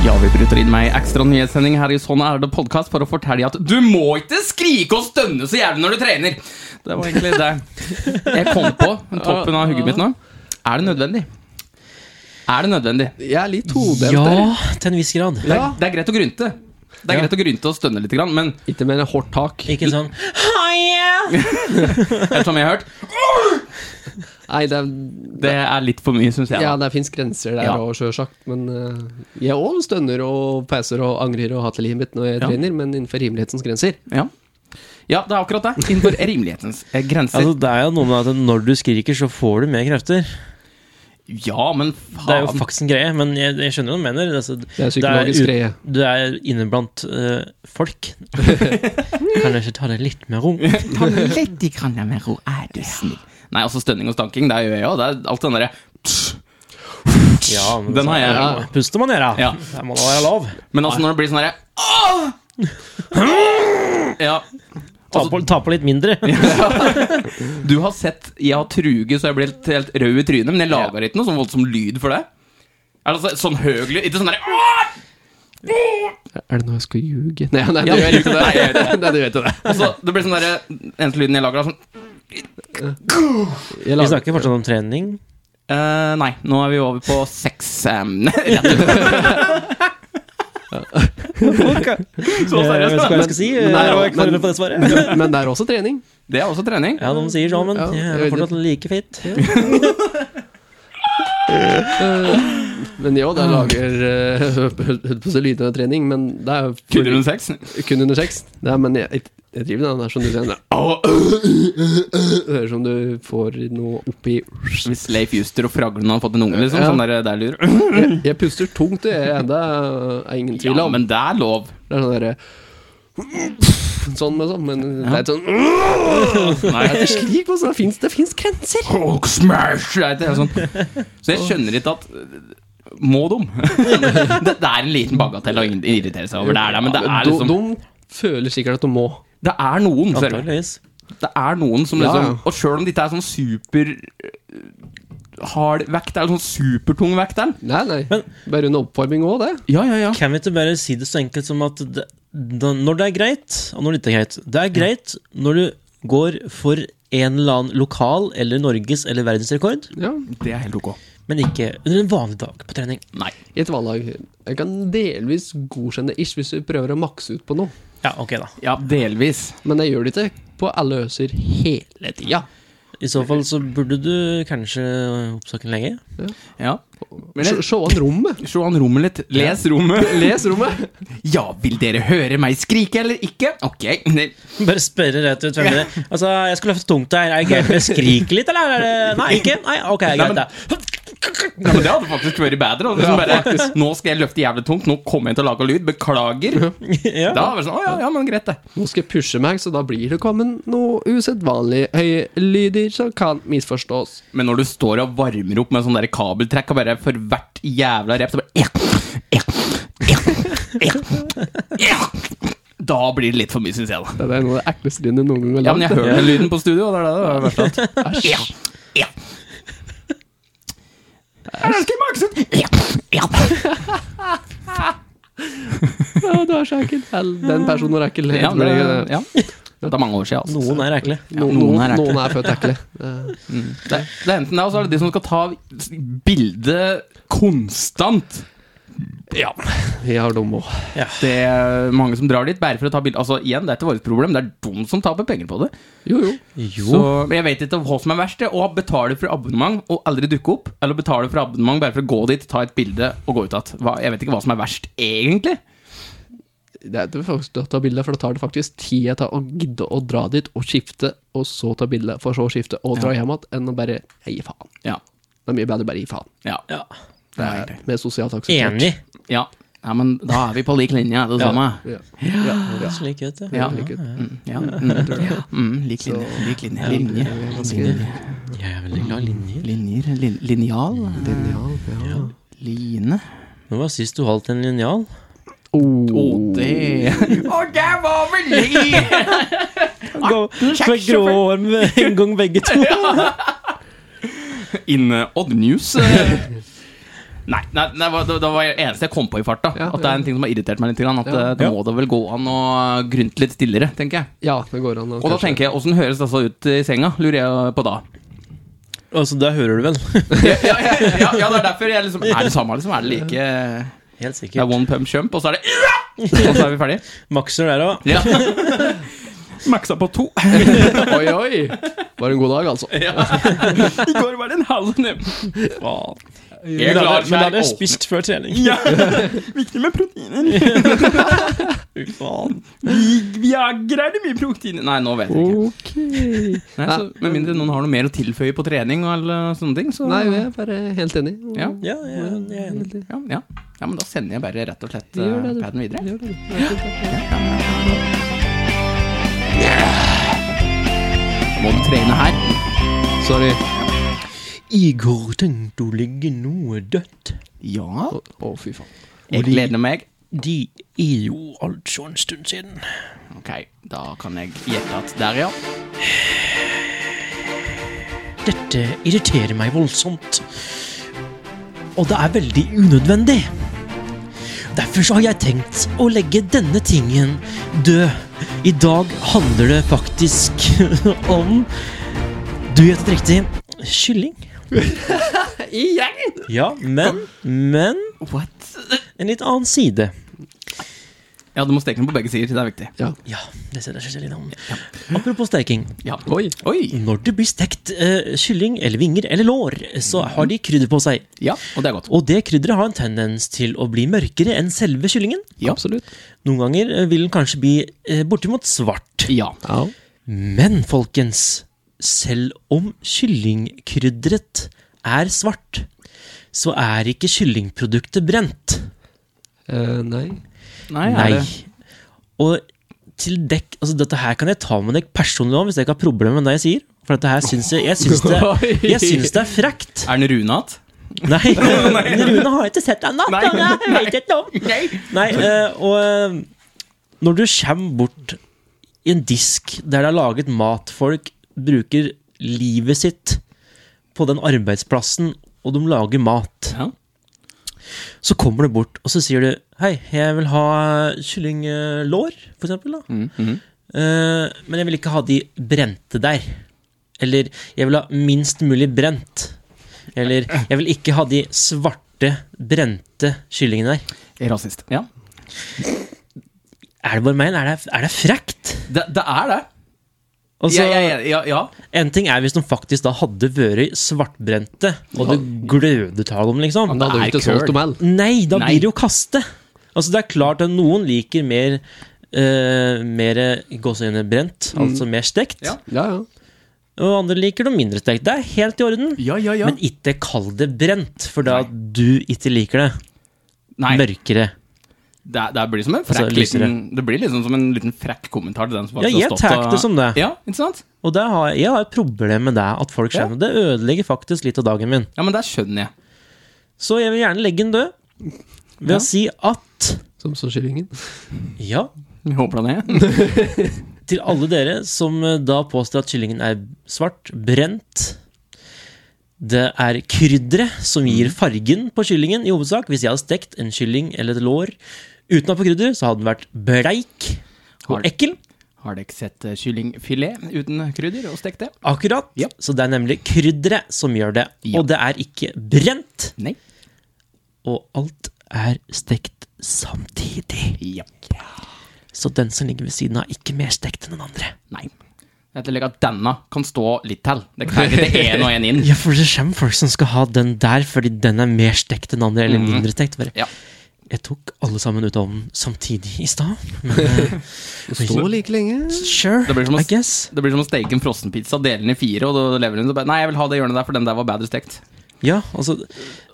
Speaker 2: Ja, vi bryter inn med ei ekstra nyhetssending her i Sånn er det podkast for å fortelle at du må ikke skrike og stønne så jævlig når du trener! Det var egentlig det jeg kom på. Toppen av hugget mitt nå. Er det nødvendig? Er det nødvendig? Det,
Speaker 1: Jeg er litt todelt
Speaker 3: Ja,
Speaker 1: der.
Speaker 3: til en viss grad.
Speaker 2: er-
Speaker 1: Ja.
Speaker 2: det er greit å grynte. Det er
Speaker 3: Ja.
Speaker 2: greit å grynte og stønne litt, grann, men
Speaker 1: Ikke mer hardt tak.
Speaker 3: Ikke sånn
Speaker 2: ettersom jeg har hørt,
Speaker 1: Nei, det er,
Speaker 2: det er litt for mye, syns jeg.
Speaker 1: ja,
Speaker 2: da.
Speaker 1: det fins grenser der
Speaker 2: Ja.
Speaker 1: òg, sjølsagt. Men eh, jeg òg stønner og peser og angrer og hater livet mitt når jeg
Speaker 2: Ja.
Speaker 1: trener, men innenfor rimelighetens grenser.
Speaker 2: Ja. ja, det er akkurat det. Innenfor rimelighetens eh, grenser.
Speaker 3: Altså, det er jo noe med at når du skriker, så får du mer krefter.
Speaker 2: Ja, men
Speaker 3: Det er jo
Speaker 2: faen.
Speaker 3: faktisk en greie, men jeg, jeg skjønner hva du mener. Altså, det
Speaker 1: er psykologisk
Speaker 3: ut-
Speaker 1: greie.
Speaker 3: Du er inne blant eh,
Speaker 1: <laughs>
Speaker 3: folk. kan du ikke ta det litt med ro?
Speaker 2: Ta meg litt i krangla med ro, er du snill. Nei, altså stønning og stanking, det gjør jeg òg. Det er alt den derre
Speaker 3: Ja, men
Speaker 2: Den har jeg.
Speaker 3: så- Puster man gjøre.
Speaker 2: Ja.
Speaker 3: Det må da være lov.
Speaker 2: Men altså, når det blir sånn herre Ja.
Speaker 3: Ta
Speaker 1: Altså-
Speaker 3: på, ta på litt mindre.
Speaker 2: Du har sett Jeg har truge, så jeg blir helt, helt rød i trynet, men jeg lager ikke noe sånn voldsom lyd for det. Er det altså, sånn høgelig Ikke sånn derre «Åh!»
Speaker 1: Er det noe jeg skal ljuge? Nei, nei,
Speaker 2: Ja,
Speaker 1: du gjør ikke
Speaker 2: nei, jeg
Speaker 1: det. <laughs> Nei, du gjør ikke det.
Speaker 2: Altså, det blir sånn derre Eneste lyden jeg lager, er sånn
Speaker 1: Jeg
Speaker 3: Vi
Speaker 1: lager,
Speaker 3: snakker fortsatt om trening.
Speaker 2: «Eh, Nei, nå er vi over på sex <laughs> um, rett ut. Så
Speaker 3: Eh, Jeg vet
Speaker 2: seriøst,
Speaker 3: ikke hva
Speaker 2: da.
Speaker 3: jeg skal si. eh,
Speaker 1: men-
Speaker 3: Jeg
Speaker 1: men-
Speaker 3: var ikke forberedt på det svaret.
Speaker 1: men det er også trening.
Speaker 2: Det er også trening.
Speaker 3: Ja, de sier sånn, men
Speaker 1: Ja,
Speaker 3: jeg
Speaker 1: jeg
Speaker 3: er
Speaker 1: vet
Speaker 3: fortsatt like fit.
Speaker 1: Men jo, det
Speaker 2: Ah.
Speaker 1: lager eh, <laughs> Holdt på å si lyder av trening, men det er jo
Speaker 2: Kun under sex.
Speaker 1: kun under sex. Det er, men jeg, jeg, jeg driver med den der som du sier. den der, «Au,
Speaker 2: øh.
Speaker 1: Det høres ut som du får noe oppi
Speaker 2: Hvis Leif Juster og Fraglen hadde fått en unge, liksom.
Speaker 1: Ja.
Speaker 2: Sånn der, der <laughs> lurer.
Speaker 1: Jeg, jeg puster tungt, det er det er ingen tvil
Speaker 2: Ja,
Speaker 1: om.
Speaker 2: men det er lov.
Speaker 1: Det er sånn derre <laughs> Sånn, liksom. Men det er ikke sånn
Speaker 2: Nei, <laughs>
Speaker 1: Det er slik, altså. Det fins- Det fins grenser.
Speaker 2: Hulk smash! Jeg vet ikke, sånn. Så jeg skjønner ikke at eh, Må de? <laughs> det, det er en liten bagatell å in- irritere seg over. Det er det, men det er liksom
Speaker 1: de, de føler sikkert at de må.
Speaker 2: Det er noen, ser du.
Speaker 3: Antakeligvis.
Speaker 2: Det er noen som
Speaker 1: Ja,
Speaker 2: liksom
Speaker 1: ja.
Speaker 2: Og sjøl om det ikke er sånn super øh, hard vekt, det er jo sånn supertung vekt der.
Speaker 1: Nei, nei. Bare under oppvarming òg, det.
Speaker 2: Ja, ja, ja.
Speaker 3: Kan vi ikke bare si det så enkelt som at det, da, når det er greit, og når det ikke er greit Det er greit når du går for en eller annen lokal eller Norges eller verdensrekord,
Speaker 1: Ja.
Speaker 2: Det er helt ok.
Speaker 3: men ikke under en vanlig dag på trening.
Speaker 2: Nei.
Speaker 1: I et vallag. Jeg kan delvis godkjenne ish hvis du prøver å makse ut på noe.
Speaker 3: Ja, ok, da.
Speaker 2: Ja, delvis.
Speaker 1: Men jeg gjør det ikke på alle øser hele tida.
Speaker 3: I så fall så burde du kanskje oppsøke den lenge.
Speaker 2: Ja. Men
Speaker 1: Se
Speaker 2: jeg,
Speaker 1: se an rommet.
Speaker 2: se an rommet litt. Les rommet.
Speaker 1: Les rommet.
Speaker 2: Ja, vil dere høre meg skrike eller ikke? Ok. Nei.
Speaker 3: <laughs> Bare spørre rett ut hvem det er. Altså, jeg skal løfte tungt her. Er det greit om jeg skriker litt, eller er det Nei, ikke? Nei, ok,
Speaker 2: Nei,
Speaker 3: greit,
Speaker 2: men-
Speaker 3: det.
Speaker 2: Ja, men Det hadde faktisk vært bedre. og Liksom bare, nå skal jeg løfte jævlig tungt, nå kommer jeg til å lage lyd. Beklager.
Speaker 3: <laughs> Ja.
Speaker 2: Da var det sånn, å ja, ja, men greit det
Speaker 1: Nå skal jeg pushe meg, så da blir det kommet noe usedvanlig høye lyder som kan misforstås.
Speaker 2: Men når du står og varmer opp med sånn der kabeltrekk og bare for hvert jævla rep så bare ja, ja, ja, ja, ja. Da blir det litt for mye, syns jeg. da
Speaker 1: Det er noe av det ekleste lyden jeg noen gang har
Speaker 2: Ja, men jeg
Speaker 1: lagd.
Speaker 2: hører den lyden på studio. og Det er det, det er verst av alt.
Speaker 1: Æsj.
Speaker 2: Ja, ja. Jeg elsker Maxen! Ja, ja.
Speaker 1: Ja, du er så ekkel. Vel, Den personen er ekkel.
Speaker 2: Ja,
Speaker 1: Jeg
Speaker 2: det,
Speaker 1: tror jeg-
Speaker 2: ja. Det er mange år siden. Altså.
Speaker 3: Noen er ekle.
Speaker 1: No,
Speaker 2: noen
Speaker 1: noen,
Speaker 2: er ekle.
Speaker 1: noen er født ekle.
Speaker 2: <laughs>
Speaker 1: Det-
Speaker 2: Det, det er enten det, og så er det de som skal ta bilde konstant. Ja.
Speaker 1: Vi har dem òg.
Speaker 2: Det er mange som drar dit bare for å ta bilde. Altså, igjen, det er ikke vårt problem, det er de som taper penger på det.
Speaker 1: Jo, jo.
Speaker 2: Så,
Speaker 3: Jo.
Speaker 2: men jeg vet ikke hva som er verst, det. Å betale for abonnement og aldri dukke opp, eller betale for abonnement bare for å gå dit, ta et bilde og gå ut igjen. Hva- Jeg vet ikke hva som er verst, egentlig.
Speaker 1: Det er det faktisk å ta bilde, for da tar det faktisk tid jeg tar å gidde å dra dit og skifte, og så ta bilde, for så å skifte og dra hjem igjen, enn å bare jeg gir faen.
Speaker 2: Ja.
Speaker 1: Det er mye bedre å bare gi faen.
Speaker 2: Ja.
Speaker 3: Ja.
Speaker 1: Det er mer sosialt akseptert.
Speaker 3: Enig.
Speaker 2: ja. ja men da er vi på lik linje, er det det
Speaker 3: Ja.
Speaker 2: samme?
Speaker 1: Ja. Ja, ja.
Speaker 3: Slik, vet du.
Speaker 2: Ja.
Speaker 1: Lykke til.
Speaker 2: Mm, ja. Mm, ja. Mm, lik linje. Lik linje. linje. linje.
Speaker 3: Jeg er veldig glad i linjer.
Speaker 2: Linjer. Lin linjal.
Speaker 1: Linjal, ja.
Speaker 2: Line.
Speaker 3: Når var sist du holdt en linjal?
Speaker 1: Oh.
Speaker 2: det Og det var vel <laughs> det!
Speaker 3: Med grå hår med en gang begge <laughs> to.
Speaker 2: In eh, odd <laughs> news. eh. Nei, nei, nei hva- det, det var det eneste jeg kom på i farta.
Speaker 1: Ja,
Speaker 2: at det er en
Speaker 1: ja.
Speaker 2: ting som har irritert meg litt. grann, At
Speaker 1: Ja.
Speaker 2: eh, det må da vel gå an å grynte litt stillere, tenker jeg.
Speaker 1: Ja, det går an.
Speaker 2: Og da tenker jeg, åssen høres dette ut i senga? Lurer jeg på da.
Speaker 3: Altså, der hører du vel?
Speaker 2: <laughs> Ja, ja, ja, ja, ja det er derfor jeg liksom Er det samme, liksom? Er det like Det
Speaker 3: <laughs> Helt
Speaker 2: er
Speaker 3: sikkert.
Speaker 2: one pump jump, og så er det Og så er vi ferdige.
Speaker 3: Maxer der
Speaker 2: <laughs>
Speaker 3: òg.
Speaker 2: Ja. Maksa på to.
Speaker 1: <laughs> Oi, oi! Var en god dag, altså.
Speaker 2: <laughs> Ja. I går var det en halv nem. Jeg
Speaker 3: Men da
Speaker 2: klarer
Speaker 3: hadde
Speaker 2: meg
Speaker 3: jeg
Speaker 2: åpen.
Speaker 3: spist før <laughs> trening.
Speaker 2: Ja. Viktig med proteiner.
Speaker 3: <laughs> Fy faen.
Speaker 2: Vi, Viagra er det mye protein i. Nei, nå vet jeg ikke.
Speaker 1: Ok.
Speaker 2: Nei, så, med mindre noen har noe mer å tilføye på trening og alle sånne ting, så
Speaker 1: Nei, jeg er bare helt enig.
Speaker 2: ja.
Speaker 3: Ja, jeg, jeg er enig.
Speaker 2: Ja, ja. ja, men da sender jeg bare rett og slett
Speaker 1: Gjør
Speaker 2: eh,
Speaker 1: det, du.
Speaker 2: paden videre.
Speaker 1: Gjør det.
Speaker 2: Må du trene her?
Speaker 1: Sorry.
Speaker 3: Igor tenkte å ligge noe dødt.
Speaker 2: Ja.
Speaker 1: Å, å, fy faen.
Speaker 2: Jeg gleder meg.
Speaker 3: De er jo altså en stund siden.
Speaker 2: Ok, da kan jeg gjette at der, ja.
Speaker 3: Dette irriterer meg voldsomt. Og det er veldig unødvendig. Derfor så har jeg tenkt å legge denne tingen død. I dag handler det faktisk <laughs> om Du gjettet riktig. <laughs> Kylling.
Speaker 2: Igjen?
Speaker 3: Ja, men Men
Speaker 2: What?
Speaker 3: en litt annen side.
Speaker 2: Ja, du må steke den på begge sider. Det er viktig.
Speaker 1: Ja.
Speaker 3: Ja, det ser jeg litt om. Apropos steking.
Speaker 2: Ja.
Speaker 1: Oi.
Speaker 2: Oi!
Speaker 3: Når det blir stekt eh, kylling eller vinger eller lår, så har de krydder på seg.
Speaker 2: Ja, og det er godt.
Speaker 3: Og det krydderet har en tendens til å bli mørkere enn selve kyllingen.
Speaker 2: Ja.
Speaker 1: Absolutt.
Speaker 3: Noen ganger eh, vil den kanskje bli eh, bortimot svart.
Speaker 2: Ja.
Speaker 1: Ja.
Speaker 3: Men folkens, selv om kyllingkrydderet er svart, så er ikke kyllingproduktet brent.
Speaker 1: Eh, nei.
Speaker 2: Nei, er
Speaker 3: Nei.
Speaker 2: det
Speaker 3: Og til dekk Altså, dette her kan jeg ta med deg personlig om hvis jeg ikke har problemer med det jeg sier. For dette her syns jeg Jeg syns det,
Speaker 2: <laughs>
Speaker 3: jeg syns det er frekt.
Speaker 2: Er den runat?
Speaker 3: <laughs> Nei, men Rune har ikke sett den da.
Speaker 2: Nei.
Speaker 3: Den er- vet jeg ikke om. Nei, eh, og eh, når du kommer bort i en disk der det er laget mat, folk bruker livet sitt på den arbeidsplassen, og de lager mat,
Speaker 2: Ja.
Speaker 3: så kommer du bort, og så sier du Hei, jeg vil ha kyllinglår, for eksempel. Da.
Speaker 2: Mm, mhm.
Speaker 3: Eh, men jeg vil ikke ha de brente der. Eller jeg vil ha minst mulig brent. Eller jeg vil ikke ha de svarte, brente kyllingene der.
Speaker 2: Rasist. Ja.
Speaker 3: Er det bare meg, eller er det, er det frekt?
Speaker 2: Det, det er det.
Speaker 3: Altså,
Speaker 2: Ja, ja, ja, ja, ja.
Speaker 3: En ting er hvis de faktisk da hadde vært svartbrente, og det glødet av dem, liksom.
Speaker 1: Men da hadde
Speaker 2: Det
Speaker 1: vi
Speaker 2: er
Speaker 1: ikke solgt
Speaker 2: køl.
Speaker 1: dem all.
Speaker 3: Nei, da
Speaker 2: Nei.
Speaker 3: blir det jo kaste. Altså, det er klart at noen liker mer Uh, mer gåsehudene brent, altså mer stekt.
Speaker 2: Mm. Ja.
Speaker 1: Ja, ja.
Speaker 3: Og andre liker det mindre stekt. Det er helt i orden.
Speaker 2: Ja, ja, ja.
Speaker 3: Men ikke kall det brent, for da du ikke liker det.
Speaker 2: Nei, det,
Speaker 3: Mørkere.
Speaker 2: det blir som en frekk
Speaker 3: Altså, lysere.
Speaker 2: liten, Det blir liksom som en liten frekk kommentar til den som
Speaker 3: Ja,
Speaker 2: faktisk
Speaker 3: jeg tar det som det.
Speaker 2: Ja, ikke sant?
Speaker 3: Og der har jeg, jeg har et problem med det, at folk
Speaker 2: Ja.
Speaker 3: skjønner det. Det ødelegger faktisk litt av dagen min.
Speaker 2: Ja, men det skjønner jeg.
Speaker 3: Så jeg vil gjerne legge den død ved
Speaker 2: Ja.
Speaker 3: å si at
Speaker 1: Som så kyllingen.
Speaker 3: ja,
Speaker 2: Jeg håper det
Speaker 3: <laughs>
Speaker 2: er.
Speaker 3: til alle dere som eh, da påstår at kyllingen er svart, brent Det er krydderet som
Speaker 2: Mm.
Speaker 3: gir fargen på kyllingen, i hovedsak. Hvis jeg hadde stekt en kylling eller et lår uten å ha på krydder, så hadde den vært bleik
Speaker 2: Har-
Speaker 3: og ekkel.
Speaker 2: Har dere sett eh, kyllingfilet uten krydder og stekt det?
Speaker 3: Akkurat.
Speaker 2: Ja.
Speaker 3: Så det er nemlig krydderet som gjør det.
Speaker 2: Ja.
Speaker 3: Og det er ikke brent.
Speaker 2: Nei.
Speaker 3: Og alt er stekt samtidig.
Speaker 2: Ja.
Speaker 3: Så den som ligger ved siden av, er ikke mer stekt enn den andre.
Speaker 2: Nei. Jeg tillegger at denne kan stå litt til. Det kan ikke det en og en inn.
Speaker 3: <laughs> Ja, for det kommer folk som skal ha den der fordi den er mer stekt enn den andre, eller mindre stekt. Bare,
Speaker 2: Mhm. Ja.
Speaker 3: Jeg tok alle sammen ut av ovnen samtidig i stad, men eh,
Speaker 1: Står like lenge.
Speaker 3: sure,
Speaker 2: Det blir som å-
Speaker 3: I guess.
Speaker 2: Det blir som å steke en frossenpizza, dele den i fire, og da lever den så bare Nei, jeg vil ha det hjørnet der, for den der var bedre stekt.
Speaker 3: Ja, altså,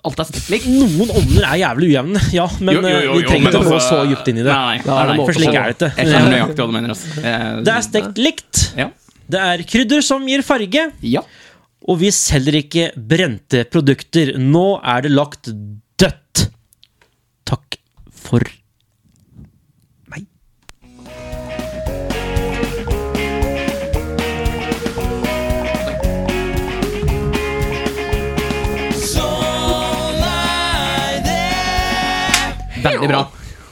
Speaker 2: Alt er stekt likt.
Speaker 3: noen ovner er jævlig ujevne, ja, men
Speaker 2: Jo, jo, jo,
Speaker 3: eh, vi
Speaker 2: jo,
Speaker 3: trenger
Speaker 2: men
Speaker 3: ikke å gå så
Speaker 2: altså-
Speaker 3: dypt inn i det.
Speaker 2: Nei, nei,
Speaker 1: Ja,
Speaker 2: nei, nei.
Speaker 1: må-
Speaker 3: For slik er
Speaker 2: Jeg
Speaker 3: det ikke.
Speaker 2: skjønner nøyaktig hva du mener. Altså. Eh,
Speaker 3: Det er stekt likt.
Speaker 2: Ja.
Speaker 3: Det er krydder som gir farge.
Speaker 2: ja.
Speaker 3: Og vi selger ikke brente produkter. Nå er det lagt dødt. Takk for meg.
Speaker 2: Veldig bra.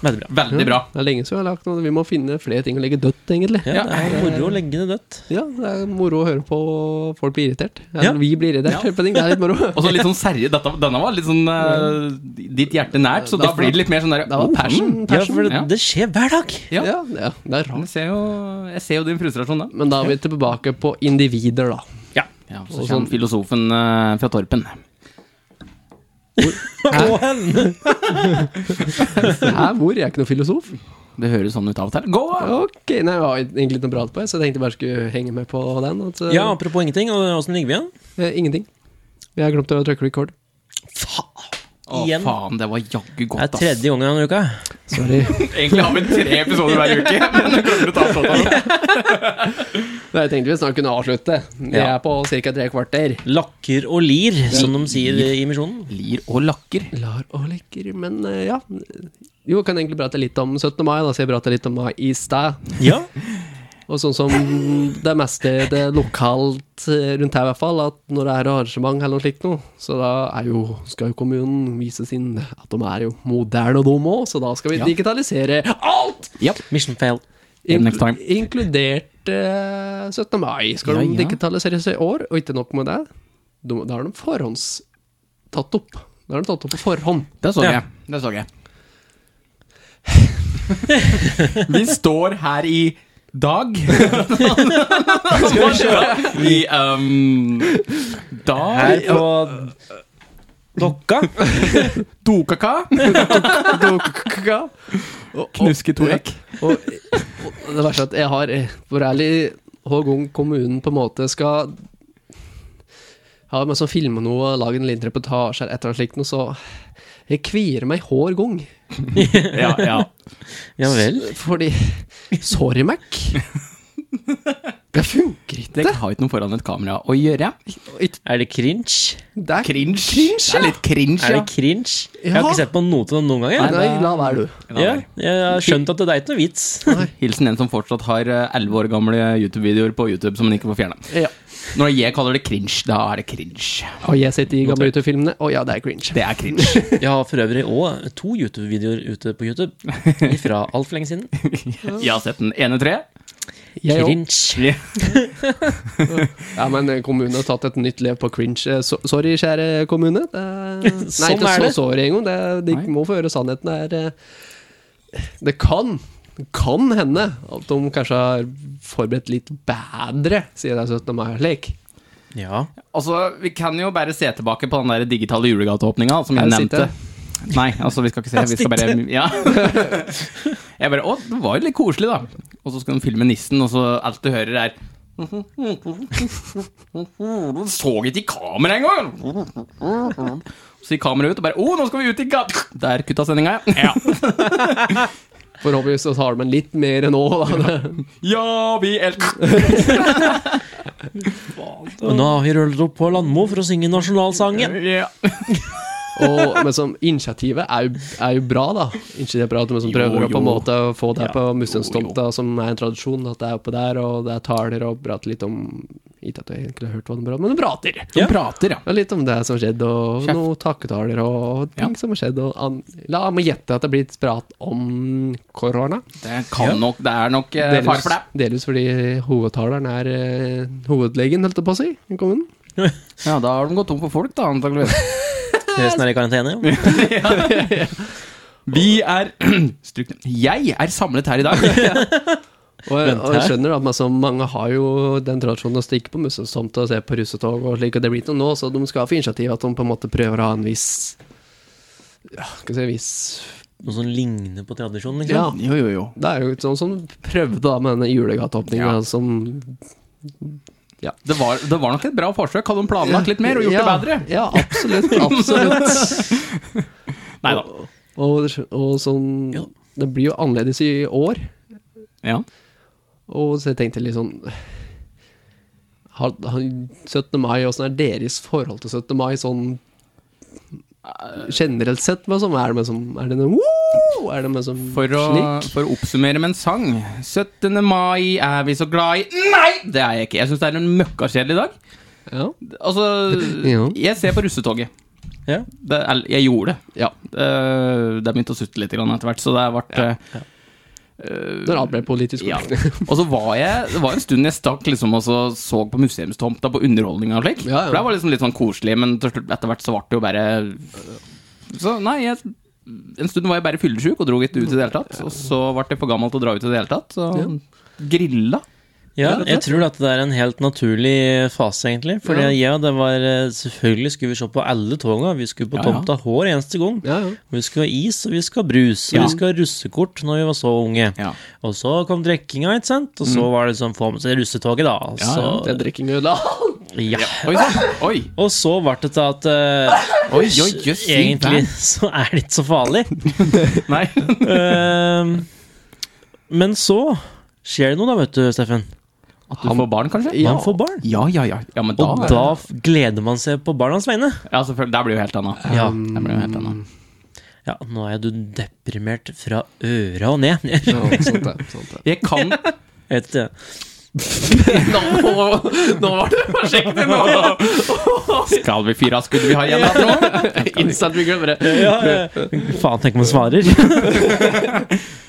Speaker 3: Veldig bra.
Speaker 2: Veldig bra.
Speaker 1: Det er lenge siden vi har lagt noe. Vi må finne flere ting å legge dødt, egentlig.
Speaker 3: Ja, det er moro å legge det dødt.
Speaker 1: Ja, det er moro å høre på folk blir irritert. Eller
Speaker 3: Ja.
Speaker 1: vi blir irritert.
Speaker 2: Ja.
Speaker 1: på ting. Det er litt moro.
Speaker 2: <laughs> Og så litt sånn serie, dette, Denne var litt sånn eh, ditt hjerte nært, så da blir det litt mer sånn der
Speaker 1: Det var passion.
Speaker 2: mm.
Speaker 3: Ja,
Speaker 1: passion.
Speaker 3: for det,
Speaker 2: ja.
Speaker 3: det skjer hver dag.
Speaker 2: Ja.
Speaker 1: Ja, ja, det er
Speaker 2: Jeg
Speaker 1: rart.
Speaker 2: ser, jo, jeg ser jo din frustrasjon da.
Speaker 1: Men da er vi tilbake på individer, da.
Speaker 2: Ja, Så kommer filosofen eh, fra Torpen.
Speaker 3: Og hen!
Speaker 1: Hæ, hvor? Jeg er ikke noen filosof.
Speaker 2: Det høres sånn ut av og til. Gå!
Speaker 1: Ok, nei, jeg har egentlig ikke noe bra på, så jeg tenkte bare skulle henge med på den. At, eh,
Speaker 3: Ja, apropos ingenting, og åssen ligger vi igjen?
Speaker 1: eh, ingenting. Jeg glemte å trykke record.
Speaker 2: Å,
Speaker 3: Igjen.
Speaker 2: faen, det var jaggu
Speaker 3: Det er
Speaker 2: godt, ass.
Speaker 3: tredje gangen denne uka.
Speaker 1: Sorry.
Speaker 2: <laughs> Egentlig har vi tre episoder hver uke, <laughs> men jeg glemmer å
Speaker 1: <laughs>
Speaker 2: ta avtalen.
Speaker 1: Nei, jeg tenkte vi snart kunne avslutte. Vi
Speaker 3: Ja.
Speaker 1: er på ca. tre kvarter.
Speaker 3: Lakker og lir, som de sier i Misjonen.
Speaker 2: Lir og lakker.
Speaker 1: Lar og lekker, men eh, ja. Jo, kan egentlig prate litt om 17. mai, da, så jeg prata litt om mai i stad.
Speaker 3: Ja.
Speaker 1: Og sånn som det meste det er lokalt eh, rundt her, i hvert fall, at når det er arrangement eller noe slikt noe, så da er jo, skal jo kommunen vise sin at de er jo moderne og dumme òg, så da skal vi
Speaker 2: Ja.
Speaker 1: digitalisere alt!
Speaker 2: Ja.
Speaker 3: Mission fail.
Speaker 2: Yeah, next time.
Speaker 1: Inkludert eh, 17. mai. Skal
Speaker 2: Ja,
Speaker 1: de
Speaker 2: ja.
Speaker 1: digitaliseres i år, og ikke nok med det, de, da har de forhåndstatt opp. Da har de tatt opp på
Speaker 2: <laughs>
Speaker 1: forhånd.
Speaker 2: Det så
Speaker 3: Ja.
Speaker 2: jeg. Det <laughs> så jeg. Vi står her i <laughs> dag. Skal vi kjøre i um,
Speaker 3: Her
Speaker 2: dag
Speaker 3: på Dokka.
Speaker 2: Dokaka. Knuske Torek.
Speaker 1: Og, og det verste er at jeg har eh, For ærlig, hver gang kommunen på en måte skal ha meg som filmer noe og lager en liten reportasje eller et eller annet slikt noe, så jeg kvier meg hver gang.
Speaker 2: Ja, ja.
Speaker 3: Ja vel.
Speaker 1: Fordi Sorry, Mac. Det funker ikke.
Speaker 2: Det har ikke noe foran et kamera å gjøre.
Speaker 3: Er det cringe?
Speaker 1: Det er
Speaker 2: Cringe. Det er litt cringe,
Speaker 3: Er
Speaker 2: ja.
Speaker 3: det cringe? Jeg har
Speaker 1: Ja.
Speaker 3: ikke sett på noe til dem noen gang. jeg.
Speaker 1: Nei, la være, du.
Speaker 3: Ja, jeg har skjønt at det er ikke noe vits.
Speaker 2: Hilsen en som fortsatt har eh, elleve år gamle YouTube-videoer på YouTube som hun ikke får fjerna.
Speaker 1: Ja.
Speaker 2: Når jeg kaller det cringe, da er det cringe.
Speaker 1: Og jeg sitter i gamle YouTube-filmene. Å ja, det er cringe.
Speaker 2: Det er <laughs> cringe.
Speaker 3: Jeg har for øvrig òg to YouTube-videoer ute på YouTube fra altfor lenge siden.
Speaker 2: Jeg har sett den ene tre.
Speaker 1: Jeg òg.
Speaker 3: Cringe.
Speaker 1: Ja, men eh, kommunen har tatt et nytt lev på cringe. Eh, So sorry, kjære kommune. Det
Speaker 3: <laughs>
Speaker 1: er... Nei,
Speaker 3: Sånn
Speaker 1: ikke
Speaker 3: er
Speaker 1: så
Speaker 3: det.
Speaker 1: sorry engang. Det er- De
Speaker 2: Nei.
Speaker 1: må få høre sannheten. Det, er, eh, det kan kan hende at de kanskje har forberedt litt bedre, sier det er 17. mai-lek.
Speaker 3: Ja.
Speaker 2: Altså, Vi kan jo bare se tilbake på den der digitale julegateåpninga som jeg
Speaker 1: Her
Speaker 2: nevnte.
Speaker 1: sitter
Speaker 2: Nei, altså, vi skal ikke se. Vi skal bare Ja. <laughs> Jeg bare Å, det var jo litt koselig, da. Og så skal de filme nissen, og så alt du hører, er Du så ikke i kamera engang! Så gikk kameraet ut, og bare Å, nå skal vi ut i gat... Der kutta sendinga, ja.
Speaker 1: Forhåpentligvis så har de en litt mer nå. Da.
Speaker 3: <laughs>
Speaker 1: <laughs>
Speaker 2: Ja, vi elsker
Speaker 3: Og nå har vi rullet opp på Landmo for å synge nasjonalsangen.
Speaker 2: ja.
Speaker 1: Og, men som initiativet er jo, er jo bra, da. Initiativet som
Speaker 2: Jo,
Speaker 1: prøver å på en
Speaker 2: jo.
Speaker 1: måte få det
Speaker 2: Ja,
Speaker 1: på
Speaker 2: jo,
Speaker 1: Mustenstomta, som er en tradisjon. At det er oppe der, og det er taler og prater litt om Ikke at jeg egentlig har hørt hva de prater, men de prater.
Speaker 2: De prater, ja.
Speaker 1: Og litt om det som har skjedd, og
Speaker 2: Kjeft.
Speaker 1: noen takketaler og ting
Speaker 2: Ja.
Speaker 1: som har skjedd. Og an La meg gjette at det blir prat om korona.
Speaker 2: Det kan nok Det er nok eh, fare for det.
Speaker 1: delvis fordi hovedtaleren er eh, hovedlegen, holdt jeg på å si, i kommunen.
Speaker 2: Ja, da har de gått tom for folk, da, antakeligvis.
Speaker 3: Resten er i karantene. jo.
Speaker 2: Vi er <clears throat> Stryk den. Jeg er samlet her i dag.
Speaker 1: Og, og jeg skjønner at altså, mange har jo den tradisjonen å stikke på Mussens-tomt og se på russetog og slik, og det blir ikke noe nå, så de skal få initiativ at de på en måte prøver å ha en viss Ja, skal vi si viss
Speaker 3: Noe som ligner på tradisjonen,
Speaker 1: Ja.
Speaker 3: liksom.
Speaker 2: jo, jo, jo.
Speaker 1: Det er jo sånn som de prøvde da med denne julegateåpninga
Speaker 2: Ja.
Speaker 1: som
Speaker 2: Det var, det var nok et bra forsøk. Hadde de planlagt litt mer og gjort
Speaker 1: ja,
Speaker 2: det bedre?
Speaker 1: Ja, absolutt.
Speaker 2: <laughs>
Speaker 1: Absolutt.
Speaker 2: Nei da.
Speaker 1: Og, og sånn
Speaker 3: Ja.
Speaker 1: Det blir jo annerledes i år.
Speaker 2: Ja.
Speaker 1: Og så jeg tenkte litt sånn har, har 17. mai, åssen er deres forhold til 17. mai sånn eh, Generelt sett, hva som er det med som Er det noe woo? Er det med som
Speaker 2: For, å,
Speaker 1: slik?
Speaker 2: for å oppsummere med en sang 17. mai er vi så glad i Nei! Det er jeg ikke. Jeg syns det er en møkkakjedelig dag.
Speaker 1: Ja.
Speaker 2: Altså,
Speaker 1: Ja.
Speaker 2: jeg ser på russetoget.
Speaker 3: Ja.
Speaker 2: Det, eller, jeg gjorde det.
Speaker 1: ja.
Speaker 2: Eh, Det begynte å sutte litt grann etter hvert, så det ble eh,
Speaker 1: Når alt ble politisk
Speaker 2: Ja.
Speaker 1: korrekt.
Speaker 2: Og så var jeg Det var en stund jeg stakk liksom og så, så på museumstomta på underholdninga og slik.
Speaker 1: Ja, ja.
Speaker 2: For det var liksom litt sånn koselig, men til slutt- etter hvert så ble det jo bare Så nei, jeg, en stund var jeg bare fyllesyk og dro ikke ut i det hele tatt. Og så ble jeg for gammel til å dra ut i det hele tatt. Så grilla.
Speaker 3: Ja, jeg tror at det er en helt naturlig fase, egentlig. For ja. det var eh, Selvfølgelig skulle vi se på alle toga. Vi skulle på
Speaker 2: Ja, ja.
Speaker 3: tomta hver eneste gang.
Speaker 1: <laughs> Ja, ja.
Speaker 3: Vi skulle ha is, og vi skulle ha brus, og
Speaker 2: Ja.
Speaker 3: vi skulle ha russekort når vi var så unge.
Speaker 2: Ja. Mm.
Speaker 3: Og så kom drikkinga, ikke sant? Og så var det sånn få med seg russetoget, da. Og
Speaker 1: Det
Speaker 3: så,
Speaker 1: er drikking øl, da.
Speaker 3: ja.
Speaker 2: Oi, sant? oi,
Speaker 3: Og så ble det til at eh,
Speaker 2: oi, oi, jøss.
Speaker 3: egentlig <laughs> så er det ikke så
Speaker 2: <laughs>
Speaker 3: farlig.
Speaker 2: Nei.
Speaker 3: Ehm, men så skjer det noe, da, vet du, Steffen.
Speaker 2: At du får barn, kanskje?
Speaker 1: Ja.
Speaker 3: Man får barn.
Speaker 2: Ja, ja, ja. ja men da,
Speaker 3: Og da f- gleder man seg på barnas vegne.
Speaker 2: Ja, selvfølgelig. Der blir det jo helt annet.
Speaker 3: Ja.
Speaker 2: Der blir det jo helt annet.
Speaker 3: ja, nå er du deprimert fra øra og ned. eh, Jeg
Speaker 1: <laughs>
Speaker 3: <laughs>
Speaker 1: Ja, sånt er, sånt er.
Speaker 2: Jeg kan
Speaker 3: vet ikke.
Speaker 1: Nå, nå var det prosjektet, nå!
Speaker 2: Skal vi fyre av skuddet vi har igjen, da, tro?
Speaker 1: Instant vi glemmer det.
Speaker 3: Ja, eh, faen, tenk om man svarer.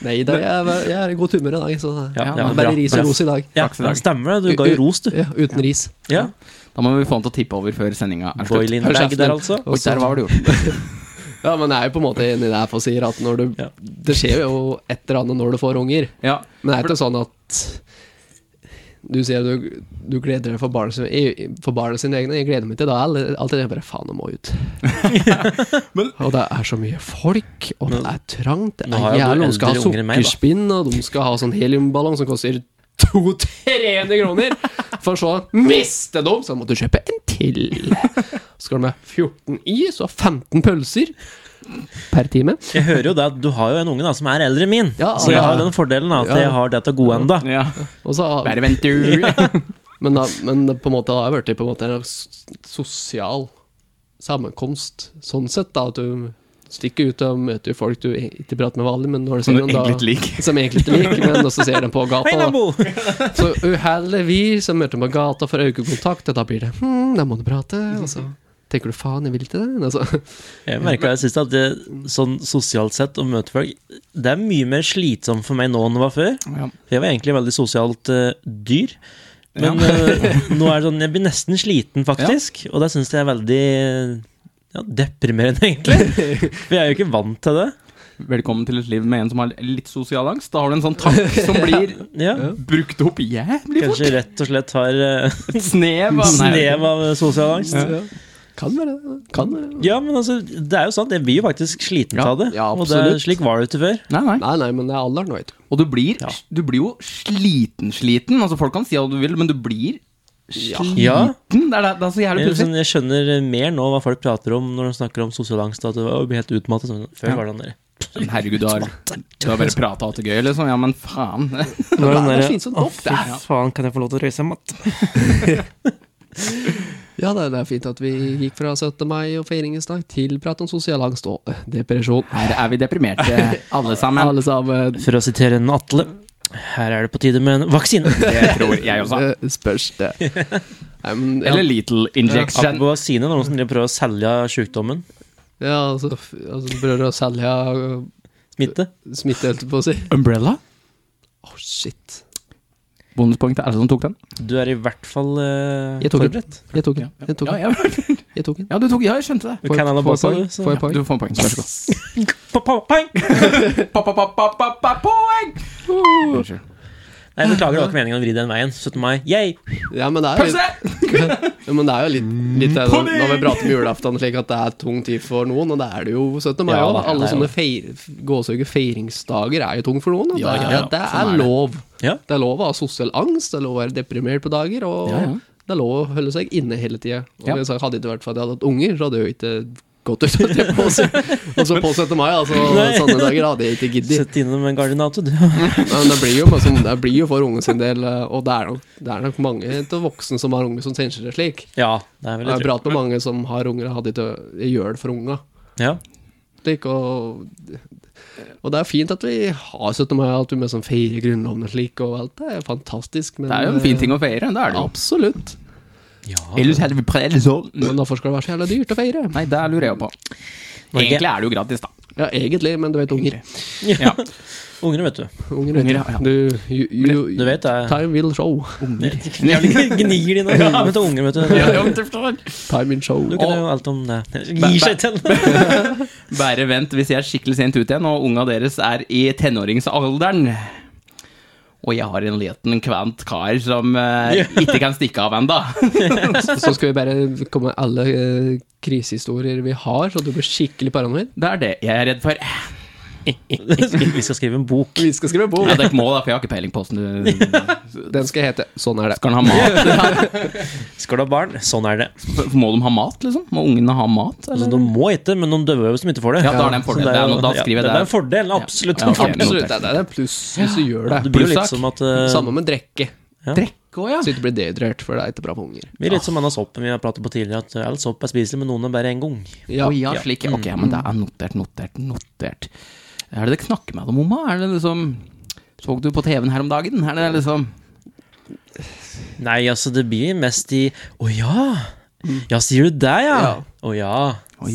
Speaker 1: Nei da, jeg, er- jeg er i godt humør i dag, så
Speaker 3: Ja,
Speaker 2: ja,
Speaker 1: det er
Speaker 3: bra,
Speaker 1: bare ris
Speaker 3: bra.
Speaker 1: og ros i dag.
Speaker 3: Ja,
Speaker 2: Takk skal du ha.
Speaker 3: stemmer det. Du ga jo ros, du.
Speaker 1: Ja, uten ris.
Speaker 3: Ja.
Speaker 2: Da må vi få han til å tippe over før sendinga er
Speaker 3: Boil
Speaker 2: slutt.
Speaker 3: in bag der, altså.
Speaker 2: Oi, der var det jo.
Speaker 1: <laughs> Ja, men jeg er jo på en måte enig i det jeg får sier, at når du
Speaker 3: Ja.
Speaker 1: Det skjer jo et eller annet når du får unger.
Speaker 2: Ja.
Speaker 1: Men det er ikke sånn at du sier du, du gleder deg for barnet, sin- jeg- for barnet sine egne. Jeg gleder meg til det. Alt alt det der bare faen, jeg må ut.
Speaker 3: <laughs>
Speaker 1: og det er så mye folk, og det er trangt. Det er
Speaker 3: Nå har jo du
Speaker 1: jævlig. De skal ha
Speaker 3: eldre unger enn meg, da.
Speaker 1: sukkerspinn, og de skal ha sånn heliumballong som koster 200-300 kroner. For så å miste dem, så må du kjøpe en til. Så skal de ha 14 is og 15 pølser per time.
Speaker 3: Jeg hører jo det at du har jo en unge da som er eldre enn min.
Speaker 1: Ja,
Speaker 3: så jeg
Speaker 1: ja.
Speaker 3: har jo den fordelen da, at
Speaker 1: Ja.
Speaker 3: jeg har det til gode ennå.
Speaker 2: ja.
Speaker 1: Og så
Speaker 2: Bare vent, du.
Speaker 1: <laughs> Men, da, men det på en måte har jeg blitt på en måte en s- sosial sammenkomst, sånn sett, da. At du stikker ut og møter jo folk du e- ikke prater med vanlig, men når du
Speaker 2: Som
Speaker 1: ser
Speaker 2: du
Speaker 1: dem, da
Speaker 2: egentlig ikke liker.
Speaker 1: Som egentlig ikke liker, men også ser dem på
Speaker 3: Hei,
Speaker 1: gata. Da.
Speaker 3: nabo!
Speaker 1: Så uheldigvis så møter du på gata for øyekontakt, og da blir det hm, da må du prate, og så tenker du faen, jeg vil ikke det. Altså,
Speaker 3: Jeg merka sist at det, sånn sosialt sett å møte folk Det er mye mer slitsomt for meg nå enn det var før.
Speaker 2: Ja.
Speaker 3: For jeg var egentlig veldig sosialt eh, dyr. Men eh, nå er det sånn Jeg blir nesten sliten, faktisk. Og det syns jeg er veldig ja, deprimerende, egentlig. For jeg er jo ikke vant til det.
Speaker 2: Velkommen til et liv med en som har litt sosial angst. Da har du en sånn tank som blir
Speaker 3: Ja,
Speaker 2: brukt opp jævlig fort.
Speaker 3: Kanskje rett og slett har eh,
Speaker 2: Et snev av
Speaker 3: snev av sosial angst.
Speaker 1: kan være det. Kan være det.
Speaker 3: Ja, men altså, det er jo sant. Jeg blir jo faktisk sliten
Speaker 2: Ja,
Speaker 3: av det.
Speaker 1: ja,
Speaker 3: og det er,
Speaker 1: absolutt.
Speaker 3: slik var det jo ikke før.
Speaker 2: Nei, nei.
Speaker 1: Nei, nei, men det er alderen nå, vet du.
Speaker 2: Og du blir,
Speaker 3: Ja.
Speaker 2: du blir jo sliten-sliten. Altså, folk kan si hva du vil, men du blir sliten.
Speaker 3: Ja.
Speaker 2: Det, er, det, det er så jævlig
Speaker 3: Jeg,
Speaker 2: pussig.
Speaker 3: sånn, jeg skjønner mer nå hva folk prater om når de snakker om sosial angst. At det var- blir helt utmattet. Sånn. Før
Speaker 2: Ja.
Speaker 3: var det den der
Speaker 2: Men Herregud, du har, du har bare prata og hatt det gøy, liksom. Ja, men <laughs> faen.
Speaker 3: Nå
Speaker 1: er den der, «Å, fy
Speaker 3: faen, kan jeg få lov til å røyse matt?
Speaker 1: Ja, det det er fint at vi gikk fra 17. mai og feiringens dag til prat om sosial angst og depresjon.
Speaker 2: Her er vi deprimerte, alle sammen.
Speaker 1: Alle sammen.
Speaker 3: For å sitere en Atle, her er det på tide med en vaksine.
Speaker 2: Det tror jeg også.
Speaker 1: Det spørs,
Speaker 2: <laughs>
Speaker 1: det. Nei, men, ja,
Speaker 2: Eller little injection.
Speaker 3: Apropos vaksine, noen som driver og prøver å selge sykdommen.
Speaker 1: ja, altså, f- altså Prøver å selge øh,
Speaker 3: Smitte.
Speaker 1: smitte, holdt jeg på å si.
Speaker 2: Umbrella?
Speaker 1: Å, shit.
Speaker 2: Bonuspoeng til alle som tok den.
Speaker 3: Du er i hvert fall eh,
Speaker 1: Jeg tok den.
Speaker 3: forberedt.
Speaker 1: Jeg tok den. Jeg tok
Speaker 2: Ja,
Speaker 1: den.
Speaker 2: ja.
Speaker 1: Jeg tok den.
Speaker 2: ja, du tok Ja, jeg skjønte det.
Speaker 3: Du kan alle
Speaker 1: Får
Speaker 3: boksa,
Speaker 1: poeng?
Speaker 3: du. Så.
Speaker 1: Får jeg poeng?
Speaker 2: Du får poeng. Vær så god.
Speaker 3: Pa- pa- Poeng!
Speaker 2: <laughs> Pa, pa, pa, pa, pa, pa, Poeng! Unnskyld.
Speaker 3: Nei, beklager, det var ikke meningen å vri den veien. 17. mai. Yay!
Speaker 1: Ja, men det er jo,
Speaker 2: Pølse!
Speaker 1: <laughs> ja, men det er jo litt, litt det,
Speaker 2: Pony!
Speaker 1: når vi prater om julaften, slik at det er tung tid for noen, og det er det jo 17. mai
Speaker 2: Ja,
Speaker 1: òg.
Speaker 2: da,
Speaker 1: Alle
Speaker 2: det er
Speaker 1: sånne feir, gåsehugge feiringsdager er jo tung for noen, og
Speaker 2: Ja,
Speaker 1: det,
Speaker 2: ja, ja.
Speaker 1: er- det
Speaker 2: Sånn
Speaker 1: er
Speaker 2: er det.
Speaker 1: lov.
Speaker 3: Ja.
Speaker 1: Det er lov å ha sosial angst, det er lov å være deprimert på dager, og
Speaker 2: Ja, ja.
Speaker 1: det er lov å holde seg inne hele tida.
Speaker 2: Ja.
Speaker 1: Hadde det ikke vært for at jeg hadde hatt unger, så hadde jeg jo ikke gått ut. holdt jeg på å si. Og så på 17. mai, altså,
Speaker 3: Nei.
Speaker 1: sånne dager hadde jeg ikke giddet.
Speaker 3: Sett innom en gardinato, du.
Speaker 1: Men det blir jo, bare sånn- det blir jo for unge sin del, og det er nok, det er nok mange av voksne som har unge som tenker det slik.
Speaker 3: Ja, det er vel
Speaker 1: Jeg har
Speaker 3: litt
Speaker 1: pratet med mange som har unger og hadde ikke gjør det for unga.
Speaker 3: Ja.
Speaker 1: Slik, og, og det er fint at vi har 17. mai, at vi med sånn feirer Grunnloven og slik, og alt det er fantastisk. Men,
Speaker 2: Det er jo en fin ting å feire. Det er det jo.
Speaker 1: Absolutt.
Speaker 2: Ellers hadde vi prøvd sånn.
Speaker 1: Men hvorfor skal det være så jævla dyrt å feire?
Speaker 2: Nei, det lurer jeg på.
Speaker 3: Norge.
Speaker 2: Egentlig er det jo gratis, da.
Speaker 1: Ja, egentlig, men du vet unger.
Speaker 2: Ja.
Speaker 3: <laughs> Ungene, vet du.
Speaker 1: Unger, vet
Speaker 2: Unger,
Speaker 1: du.
Speaker 2: ja, ja.
Speaker 1: Du, you, you,
Speaker 3: Du vet eh, det.
Speaker 1: Time will show.
Speaker 3: Jævlig gnir de nå. Ja, men til unger, vet du.
Speaker 1: Time will show.
Speaker 3: Du kan jo alt om det. Gir seg til.
Speaker 2: Bare vent hvis jeg er skikkelig sent ut igjen, og unga deres er i tenåringsalderen. Og jeg har en liten kvant kar som eh, ikke kan stikke av ennå.
Speaker 3: <laughs>
Speaker 1: Så skal vi bare komme med alle eh, krisehistorier vi har, så du blir skikkelig paranoid.
Speaker 2: Det er det jeg er redd for.
Speaker 3: <laughs> Vi skal skrive en bok.
Speaker 1: Vi skal skrive bok.
Speaker 2: Ja, det er ikke mål, da, for jeg har ikke peiling på åssen du
Speaker 1: Den skal hete 'Sånn er det'.
Speaker 2: Skal han ha mat?
Speaker 3: Skal du ha barn? Sånn er det.
Speaker 2: Må de ha mat, liksom? Må ungene ha mat?
Speaker 3: Altså,
Speaker 2: Eller?
Speaker 3: de må ete, men de døver jo som ikke får det.
Speaker 2: Ja, da er det en fordel.
Speaker 3: Så
Speaker 2: Det er noe- da
Speaker 3: ja,
Speaker 2: skriver jeg
Speaker 3: det.
Speaker 2: det.
Speaker 3: er en fordel, absolutt.
Speaker 2: Ja, ja, ok.
Speaker 1: Absolutt. Det er det er pluss hvis du gjør
Speaker 3: Det
Speaker 1: det.
Speaker 3: blir jo litt
Speaker 2: Plussak.
Speaker 3: som at eh,
Speaker 1: Samme med drikke.
Speaker 3: Ja.
Speaker 1: Drikke òg, ja. Så du ikke blir dehydrert, for det er ikke bra på unger.
Speaker 3: vi er litt som denne soppen vi har pratet på tidligere, at eh, all sopp er spiselig, men noen er bare en gang.
Speaker 1: Ja.
Speaker 2: Å ja, slik. ja. Ok, ja, men det er notert, notert, notert. Er det det snakker med dem om, da? Er det liksom Så du på TV-en her om dagen? Er det liksom
Speaker 3: Nei, altså, det blir mest i Å ja! Ja, sier du det, ja?
Speaker 1: Ja.
Speaker 3: Å ja.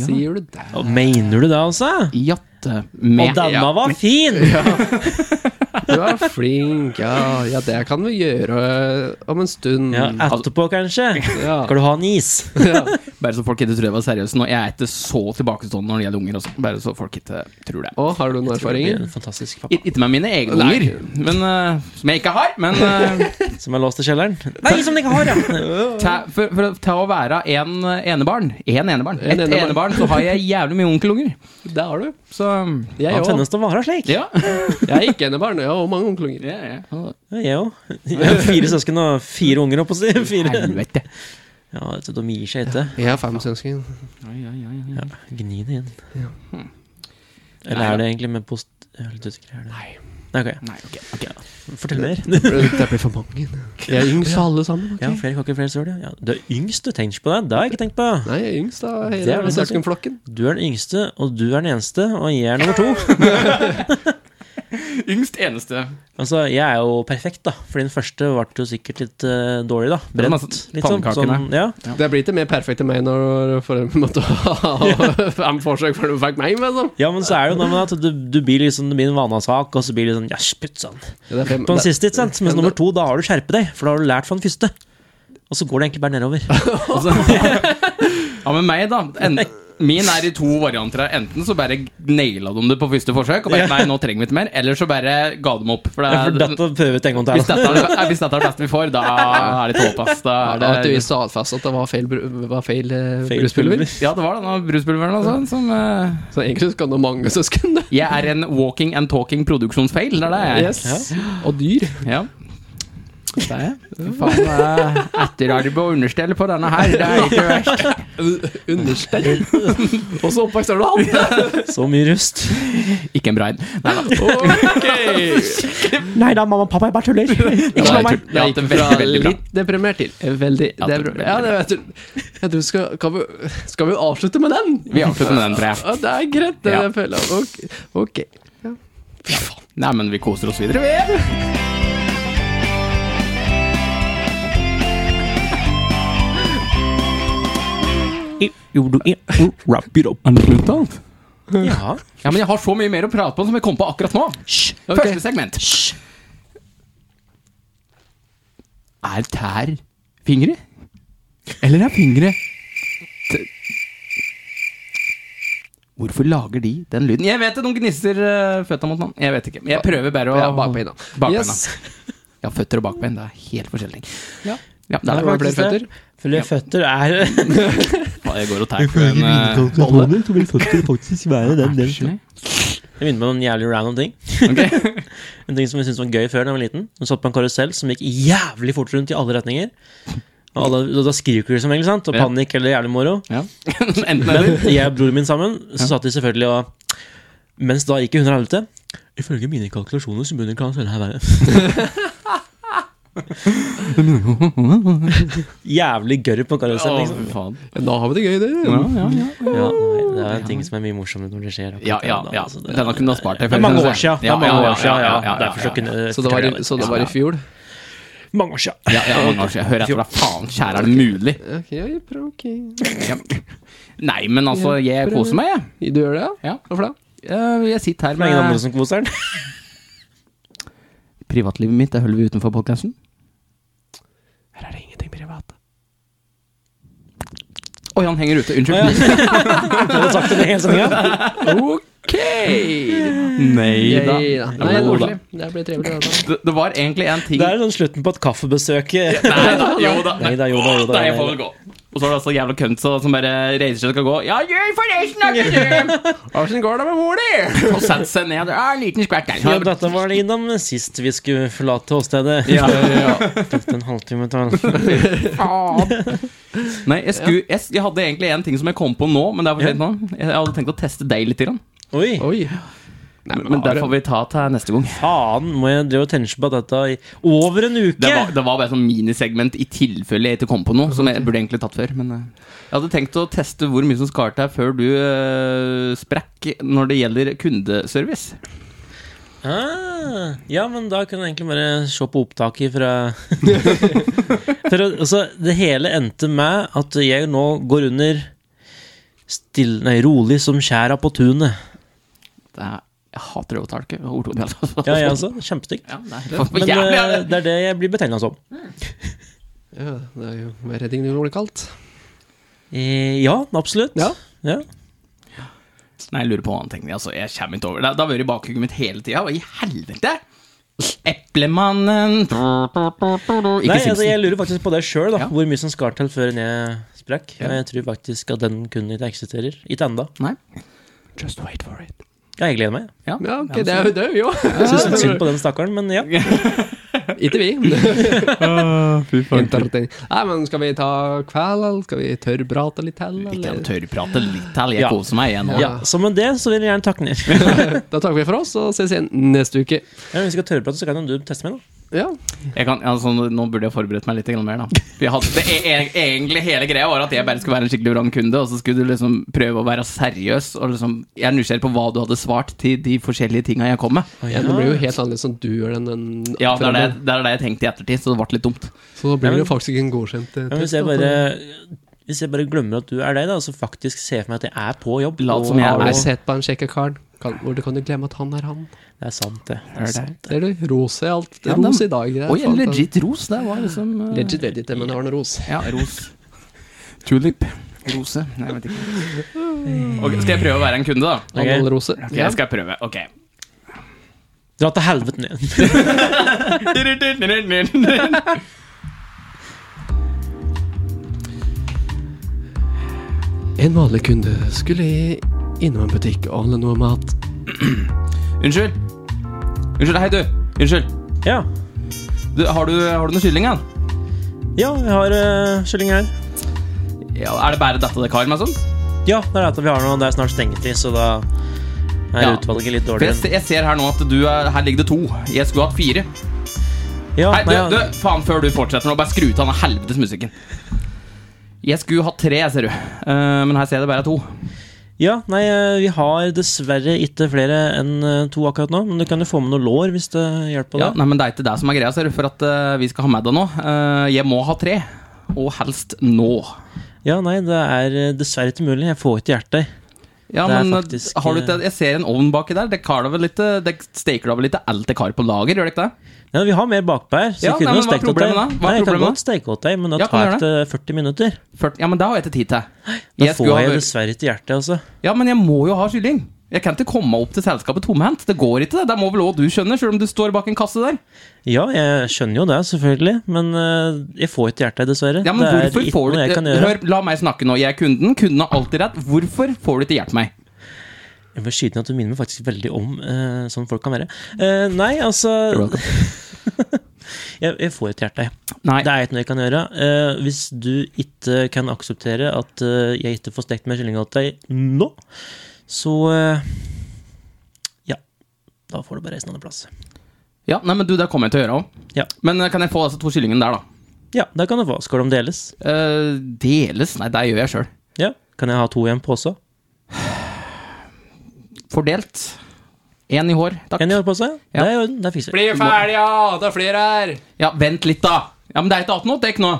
Speaker 1: Sier du det?
Speaker 3: Og mener du det, altså?
Speaker 2: Jatte
Speaker 3: Og
Speaker 2: med
Speaker 3: denne var fin!
Speaker 1: Du er flink, ja. Ja, det kan vi gjøre eh, om en stund.
Speaker 3: Ja, etterpå, kanskje.
Speaker 1: Ja.
Speaker 3: Skal du ha en is?
Speaker 2: Bare så folk ikke tror jeg var seriøs nå. Jeg er ikke så tilbakestående når det gjelder unger. Også. Bare så folk ikke tror det.
Speaker 1: Og har du noen
Speaker 3: Det
Speaker 1: erfaringer?
Speaker 3: er en
Speaker 2: I-
Speaker 3: fantastisk pappa
Speaker 2: Ikke med mine egne
Speaker 1: Nei.
Speaker 2: unger, men, eh, som jeg ikke har. Men eh,
Speaker 3: som er låst i kjelleren. Nei, som den ikke har, ja!
Speaker 2: ta, for, for, å- ta å være en eh, enebarn En enebarn.
Speaker 1: En
Speaker 2: Et
Speaker 1: enebarn.
Speaker 2: enebarn, så har jeg jævlig mye onkelunger.
Speaker 1: Det har du.
Speaker 2: Så
Speaker 1: Jeg
Speaker 3: Han
Speaker 1: òg.
Speaker 3: tennes til å være slik.
Speaker 2: ja.
Speaker 1: Jeg er ikke enebarn, jeg har også mange onklunger.
Speaker 2: ja, ja.
Speaker 3: Ja, jeg òg. <laughs> Jeg har Fire søsken og fire unger, holdt på å si. Fire.
Speaker 2: Helvete.
Speaker 3: Ja, vet du, de gir seg ikke.
Speaker 1: Jeg har fem <laughs> søsken.
Speaker 3: Ja, gni det inn. Eller er det egentlig med post... Jeg er litt usikker. Er det?
Speaker 1: Nei.
Speaker 3: Nei, ok.
Speaker 2: Nei, ok, ok.
Speaker 3: Fortell mer.
Speaker 2: <laughs>
Speaker 1: Det blir for mange. Jeg er yngst av alle sammen.
Speaker 3: Ja, flere kaker, flere søl, ja. ja. Du er yngst, du. Tenk på det. Det har jeg ikke tenkt på.
Speaker 1: Nei, jeg er yngst av
Speaker 3: Det er
Speaker 1: hele
Speaker 3: litt artig.
Speaker 1: søskenflokken.
Speaker 3: Du er den yngste, og du er den eneste, og jeg er nummer to. <laughs>
Speaker 2: Yngst eneste.
Speaker 3: Altså, jeg er jo perfekt, da. For den første ble jo sikkert litt eh, dårlig, da.
Speaker 2: er
Speaker 3: Brent.
Speaker 2: masse
Speaker 3: Litt sånn.
Speaker 2: pannekakene.
Speaker 3: sånn ja.
Speaker 1: Det blir ikke mer perfekt enn meg når for en måte <laughs> ha fem forsøk før du fikk meg, liksom.
Speaker 3: ja, men så er det jo noe med at du, du blir liksom Det blir en vanesak, og så blir det sånn Ja, spytt sånn.
Speaker 1: Ja, det er fem-
Speaker 3: På den
Speaker 1: det-
Speaker 3: siste, ikke sant? Mens nummer to, da har du skjerpet deg, for da har du lært fra den første. Og så går det egentlig bare nedover.
Speaker 2: Ja, men meg, da. En, min er i to varianter. her. Enten så bare naila de det på første forsøk, og bare, nei, nå trenger vi ikke mer. Eller så bare ga de opp. For det,
Speaker 3: For dette prøver vi en gang
Speaker 2: Eh, hvis
Speaker 3: til.
Speaker 2: dette er det, hvis dette er det beste vi får, da er det tåpe, ass. Da
Speaker 1: Ja,
Speaker 2: er
Speaker 1: at vi
Speaker 2: det liksom-
Speaker 1: stadfast at det var feil, bru- var feil, eh,
Speaker 3: Feil
Speaker 1: bruspulver.
Speaker 3: pulver.
Speaker 2: ja, det var denne bruspulveren altså, som eh,
Speaker 1: Så egentlig skal det mange søsken. det.
Speaker 2: Jeg er en walking and talking produksjonsfeil. Det er det jeg er.
Speaker 1: Yes. Og dyr.
Speaker 2: Ja. Det er jeg. Fy Faen, det er etterarbeid og understell på denne her. Det er ikke verst.
Speaker 1: <laughs> Understell. Og så oppvokst er du han.
Speaker 3: Så mye rust.
Speaker 2: Ikke en bra en. Nei da.
Speaker 1: <laughs>
Speaker 3: Nei da, mamma og pappa, jeg bare
Speaker 2: <laughs>
Speaker 3: tuller. Ikke
Speaker 2: slå
Speaker 3: slå
Speaker 2: meg.
Speaker 3: meg.
Speaker 1: Jeg gikk
Speaker 2: det er
Speaker 1: fra
Speaker 2: veldig, veldig bra.
Speaker 1: litt deprimert til veldig
Speaker 2: Ja, det er
Speaker 1: deprimert. Ja, det vet du. Jeg tror vi skal, kan vi, skal vi avslutte med den?
Speaker 2: Vi avslutter med den, tror jeg.
Speaker 1: Ja, det er greit, det
Speaker 2: Ja.
Speaker 1: jeg føler. Ok. ok. Ja.
Speaker 2: Nei, men vi koser oss videre, vi.
Speaker 3: Wrap it up.
Speaker 2: Brutalt.
Speaker 3: Ja.
Speaker 2: <laughs> Ja, men jeg har så mye mer å prate på som jeg kom på akkurat nå.
Speaker 1: Ok.
Speaker 2: Første segment. Er tær fingre? Eller er fingre t Hvorfor lager de den lyden? Jeg vet det, noen gnisser uh, føtta mot hverandre. Jeg vet ikke. Jeg prøver bare å
Speaker 1: Ja, bakbeina.
Speaker 2: Bakbeina.
Speaker 1: Yes.
Speaker 2: Ja, føtter og bakbein, det er helt forskjellig.
Speaker 1: Ja.
Speaker 2: ja det
Speaker 1: Der
Speaker 2: er
Speaker 1: var det
Speaker 2: faktisk
Speaker 1: flere føtter.
Speaker 3: Flere føtter er <laughs>
Speaker 2: det. Jeg går og tær på en eh,
Speaker 6: så vil føttene faktisk være den delen.
Speaker 2: Nei.
Speaker 3: Det minner meg om en jævlig random ting.
Speaker 2: Ok.
Speaker 3: En ting som jeg syntes var gøy før da jeg var liten. Hun satt på en karusell som gikk jævlig fort rundt i alle retninger. Og, alle, og da skriker du som regel, sant? Og
Speaker 2: Ja.
Speaker 3: panikk eller jævlig moro.
Speaker 2: Ja. <laughs> Enten
Speaker 3: Men
Speaker 2: eller.
Speaker 3: jeg og broren min sammen, så satt de selvfølgelig og Mens da gikk i hundre helvete Ifølge mine kalkulasjoner så begynner karusellen her
Speaker 2: <laughs>
Speaker 3: være <laughs> Jævlig gørr på karusell, liksom.
Speaker 2: Å, faen.
Speaker 1: Ja, Da har vi det gøy, det.
Speaker 2: Ja, ja, ja.
Speaker 3: Ja, nei, det er en ting som er mye morsommere når det skjer. akkurat
Speaker 2: Ja, ja,
Speaker 3: da,
Speaker 2: ja.
Speaker 3: altså,
Speaker 2: Denne kunne du ha spart deg.
Speaker 3: Det er mange år siden. Det er mange år siden, ja. Derfor så
Speaker 2: kunne
Speaker 3: kunne
Speaker 1: Så det var, i- så det var i fjor?
Speaker 3: Mange år siden.
Speaker 2: ja, ja, mange år siden. Hør etter, da. Faen, kjære, er det mulig?
Speaker 1: Ok, jeg prøver, ok.
Speaker 2: Ja. Nei, men altså, jeg koser meg, jeg.
Speaker 1: Du gjør det, ja?
Speaker 2: Ja.
Speaker 1: Hvorfor det?
Speaker 2: Eh, Jeg sitter her
Speaker 3: Det er ingen andre
Speaker 2: med
Speaker 3: som koser <laughs> den.
Speaker 2: Privatlivet mitt det holder vi utenfor podkasten.
Speaker 1: Her er det ingenting privat.
Speaker 2: Oi, han henger ute. Unnskyld. <laughs>
Speaker 3: Jeg hadde sagt det hele sendinga.
Speaker 1: Ok!
Speaker 2: Nei da.
Speaker 1: Yay, da. Nei,
Speaker 2: Jo da.
Speaker 1: koselig. Det blir trevelig. det da.
Speaker 2: Det, det var egentlig en ting
Speaker 3: Det er sånn slutten på et kaffebesøk.
Speaker 2: Nei da, jo da.
Speaker 3: Nei da, jo da, jo da,
Speaker 2: Nei, jeg
Speaker 3: nei,
Speaker 2: får vel gå. Og så er det altså jævla kønt så- som bare reiser seg og skal gå. Ja, gjør forresten, da!
Speaker 1: Hvordan går det med mor di?
Speaker 2: Og setter seg ned. Ja, en liten skvett der.
Speaker 3: Ja, dette var det innom sist vi skulle forlate åstedet.
Speaker 2: Ja,
Speaker 3: Tok det en halvtime til.
Speaker 2: Nei, jeg, skulle, jeg, jeg hadde egentlig en ting som jeg kom på nå, men det er for sent nå. Jeg hadde tenkt å teste deg litt. Grann.
Speaker 3: Oi,
Speaker 1: Oi.
Speaker 2: Men det får vi ta til neste gang.
Speaker 3: faen, må jeg drive og tenke på dette i over en uke?
Speaker 2: Det var, det var bare sånn minisegment i tilfelle jeg ikke kom på noe, som jeg burde egentlig tatt før. Men eh, jeg hadde tenkt å teste hvor mye som skal til før du eh, sprakk når det gjelder kundeservice.
Speaker 3: Ah, ja, men da kan jeg egentlig bare se på opptaket fra <laughs> For å- altså, det hele endte med at jeg nå går under still, nei, rolig som skjæra på tunet.
Speaker 2: Det er, jeg hater det ordtaket. Ordtaket, altså.
Speaker 3: Ja, <laughs> jeg også. Kjempestygt.
Speaker 2: <laughs> Ja, det er for
Speaker 3: Men
Speaker 2: jævlig,
Speaker 3: eh,
Speaker 2: er det.
Speaker 3: det er det jeg blir betegna som.
Speaker 1: Ja, det er jo mer redding det blir kaldt.
Speaker 3: Eh, ja, absolutt.
Speaker 1: Ja.
Speaker 3: Ja.
Speaker 2: Nei, jeg lurer på en annen ting. Altså, jeg kommer ikke over det. Det har vært i bakhugget mitt hele tida. Hva i helvete? Eplemannen Ikke
Speaker 3: Nei,
Speaker 2: Simpson.
Speaker 3: altså, jeg lurer faktisk på det sjøl, da.
Speaker 2: Ja.
Speaker 3: Hvor mye som skal til før jeg sprakk.
Speaker 2: Ja.
Speaker 3: Jeg tror faktisk at den kunden ikke eksisterer. Ikke enda.
Speaker 2: Nei. Just wait for it.
Speaker 3: Ja, jeg gleder meg.
Speaker 2: Ja,
Speaker 1: Ja, ok, det er jo det, er vi òg.
Speaker 3: Syns litt synd på den stakkaren, men ja.
Speaker 1: Ikke vi. Interting. Nei, men skal vi ta kveld, eller skal vi tørrprate litt til?
Speaker 2: Vi kan
Speaker 1: eller?
Speaker 2: tørrprate litt til. Jeg
Speaker 3: Ja.
Speaker 2: koser meg igjen nå.
Speaker 3: ja. Så med det så vil jeg gjerne takke ned.
Speaker 1: Da takker vi for oss, og ses igjen neste uke.
Speaker 3: Ja, hvis vi skal tørreprate, så kan jo du teste meg, da.
Speaker 1: Ja.
Speaker 2: Jeg kan, altså, nå burde jeg forberedt meg litt grann mer, da. Vi hadde, det, e e egentlig hele greia var at jeg bare skulle være en skikkelig vrangkunde, og så skulle du liksom prøve å være seriøs. Og liksom, jeg er nysgjerrig på hva du hadde svart til de forskjellige tinga jeg kom med.
Speaker 1: Ja, det blir jo helt annerledes som du gjør den enn
Speaker 2: Ja, det er det, det er det jeg tenkte i ettertid, så det ble litt dumt.
Speaker 1: Så da blir det jo faktisk ikke en godkjent eh,
Speaker 3: Men hvis
Speaker 1: test.
Speaker 3: jeg
Speaker 1: da.
Speaker 3: bare hvis jeg bare glemmer at du er deg, da, og så faktisk ser for meg at jeg er på jobb
Speaker 2: Lat
Speaker 3: og-
Speaker 2: som jeg er
Speaker 1: Har
Speaker 2: deg.
Speaker 1: du sett på en kjekke karen? Kan, hvor du kan du glemme at han er han?
Speaker 3: Det er sant, det. det, er
Speaker 2: Er det?
Speaker 3: sant, det.
Speaker 1: Ser du? Ros i alt.
Speaker 2: Ja,
Speaker 1: Ros
Speaker 2: den-
Speaker 1: i dag. det er
Speaker 2: Oi, en
Speaker 1: fant-
Speaker 2: legit ros. Det var liksom eh,
Speaker 1: Legit, legit, men det var en ros.
Speaker 2: Ja, ros. Tulip. Rose. Nei, jeg vet ikke. Ok, skal jeg prøve å være en kunde, da?
Speaker 3: Ok.
Speaker 1: Analrose.
Speaker 2: Ok, Jeg skal prøve. Ok.
Speaker 3: Dra til helvete ned. <laughs>
Speaker 1: En vanlig kunde skulle innom en butikk og handle noe mat.
Speaker 2: Unnskyld. Unnskyld, hei, du. Unnskyld.
Speaker 3: Ja.
Speaker 2: Du, har, du, har du noe kylling, da?
Speaker 3: ja, jeg har uh, kylling her.
Speaker 2: Ja, er det bare dette det kar med sånn?
Speaker 3: Ja, det er at vi har noe, det er snart stengetid, så da er
Speaker 2: Ja.
Speaker 3: utvalget litt
Speaker 2: For jeg,
Speaker 3: dårligere.
Speaker 2: se- jeg ser her nå at du er, her ligger det to. Jeg skulle hatt fire.
Speaker 3: Ja,
Speaker 2: Hei, du,
Speaker 3: nei,
Speaker 2: du, faen, før du fortsetter nå, bare skru ut av den helvetes musikken. Jeg skulle hatt tre, ser du. Eh, men her ser jeg det bare er to.
Speaker 3: ja, nei, eh, vi har dessverre ikke flere enn eh, to akkurat nå, men du kan jo få med noe lår hvis det hjelper
Speaker 2: Ja,
Speaker 3: deg.
Speaker 2: nei, men Det er ikke det som er greia, ser du, for at eh, vi skal ha med deg nå. Eh, jeg må ha tre, og helst nå.
Speaker 3: Ja, nei, det er eh, dessverre ikke mulig. Jeg får ikke hjertet.
Speaker 2: Ja,
Speaker 3: Det er
Speaker 2: men eh,
Speaker 3: faktisk,
Speaker 2: har du ikke, Jeg ser en ovn baki der. Det, kaler vel litt, eh, det steker da vel litt alt det kar på lager, gjør det ikke det?
Speaker 3: Ja, vi har mer bakbær, så
Speaker 2: Ja,
Speaker 3: jeg kunne
Speaker 2: nei,
Speaker 3: jo
Speaker 2: men hva er
Speaker 3: stekt åt deg.
Speaker 2: problemet da? Hva er
Speaker 3: Nei, jeg kan
Speaker 2: problemet da?
Speaker 3: godt steke åt deg, men da
Speaker 2: Ja, kan
Speaker 3: tar
Speaker 2: du
Speaker 3: det 40 minutter.
Speaker 2: 40, ja, men det har jeg ikke tid til.
Speaker 3: Da får
Speaker 2: skulle ha
Speaker 3: jeg
Speaker 2: vært-
Speaker 3: dessverre ikke hjertet, altså.
Speaker 2: Ja, men jeg må jo ha kylling. Jeg kan ikke komme opp til selskapet tomhendt. Det går ikke, det. Det må vel òg du skjønne, selv om du står bak en kasse der.
Speaker 3: Ja, jeg skjønner jo det, selvfølgelig, men eh, jeg får ikke hjertet, dessverre.
Speaker 2: Ja, men
Speaker 3: det er
Speaker 2: hvorfor
Speaker 3: ikke
Speaker 2: får du
Speaker 3: noe jeg
Speaker 2: ikke
Speaker 3: kan gjøre.
Speaker 2: Hør, la meg snakke nå. Jeg er kunden. Kunden har alltid rett. Hvorfor får du ikke hjulpet meg?
Speaker 3: Jeg må skyte inn at du minner meg faktisk veldig om eh, sånn folk kan være. Eh, nei, altså <laughs> jeg, jeg får ikke hjertet.
Speaker 2: Nei.
Speaker 3: Det er ikke noe jeg kan gjøre. Eh, hvis du ikke kan akseptere at eh, jeg ikke får stekt mer kylling til deg nå, så eh, Ja. Da får du bare reise en annen plass.
Speaker 2: Ja, nei, men du, det kommer jeg til å gjøre òg.
Speaker 3: Ja.
Speaker 2: Men eh, kan jeg få altså to kyllingene der, da?
Speaker 3: Ja, det kan du få. Skal de deles?
Speaker 2: Eh, deles? Nei, det gjør jeg sjøl.
Speaker 3: Ja. Kan jeg ha to i en pose?
Speaker 2: Fordelt. Én i hår, takk.
Speaker 3: En i hårpose?
Speaker 2: Ja.
Speaker 3: Det er i orden. Det fikser vi.
Speaker 1: Bli ferdig, ja! Det er flere her!
Speaker 2: Ja, vent litt, da. Ja, Men det er ikke 18 åt, det er ikke noe.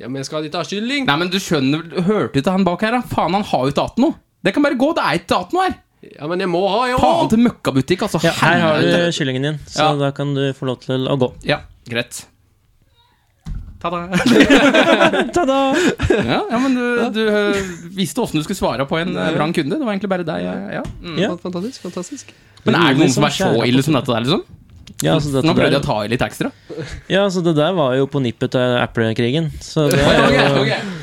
Speaker 1: Ja, men jeg skal ikke ha kylling!
Speaker 2: Nei, men du skjønner vel- Hørte du ikke han bak her, da? Faen, han har jo ikke 18 nå. Det kan bare gå. Det er ikke 18 her.
Speaker 1: Ja, men jeg må ha, jo!
Speaker 2: Faen til møkkabutikk, altså.
Speaker 3: Ja, her har
Speaker 2: Helvete.
Speaker 3: du kyllingen din, så
Speaker 2: Ja.
Speaker 3: da kan du få lov til å gå.
Speaker 2: Ja, greit. Ta-da.
Speaker 3: <laughs> Ta-da!
Speaker 2: <laughs> Ja, ja, men du, du eh, visste åssen du skulle svare på en eh, vrang kunde. Det var egentlig bare deg. eh, Ja. Mm.
Speaker 3: Ja.
Speaker 1: Fantastisk. fantastisk
Speaker 2: Men er det noen som er så
Speaker 3: Liksom, kjære-
Speaker 2: ille som dette der, liksom?
Speaker 3: Ja, så dette
Speaker 2: Nå prøvde jeg å
Speaker 3: der,
Speaker 2: ta i litt
Speaker 3: <laughs>
Speaker 2: ekstra.
Speaker 3: ja, så det der var jo på nippet av Apple-krigen. Så
Speaker 2: <laughs>
Speaker 3: det
Speaker 2: Ja,
Speaker 3: er
Speaker 2: ok,
Speaker 3: jo
Speaker 2: ok.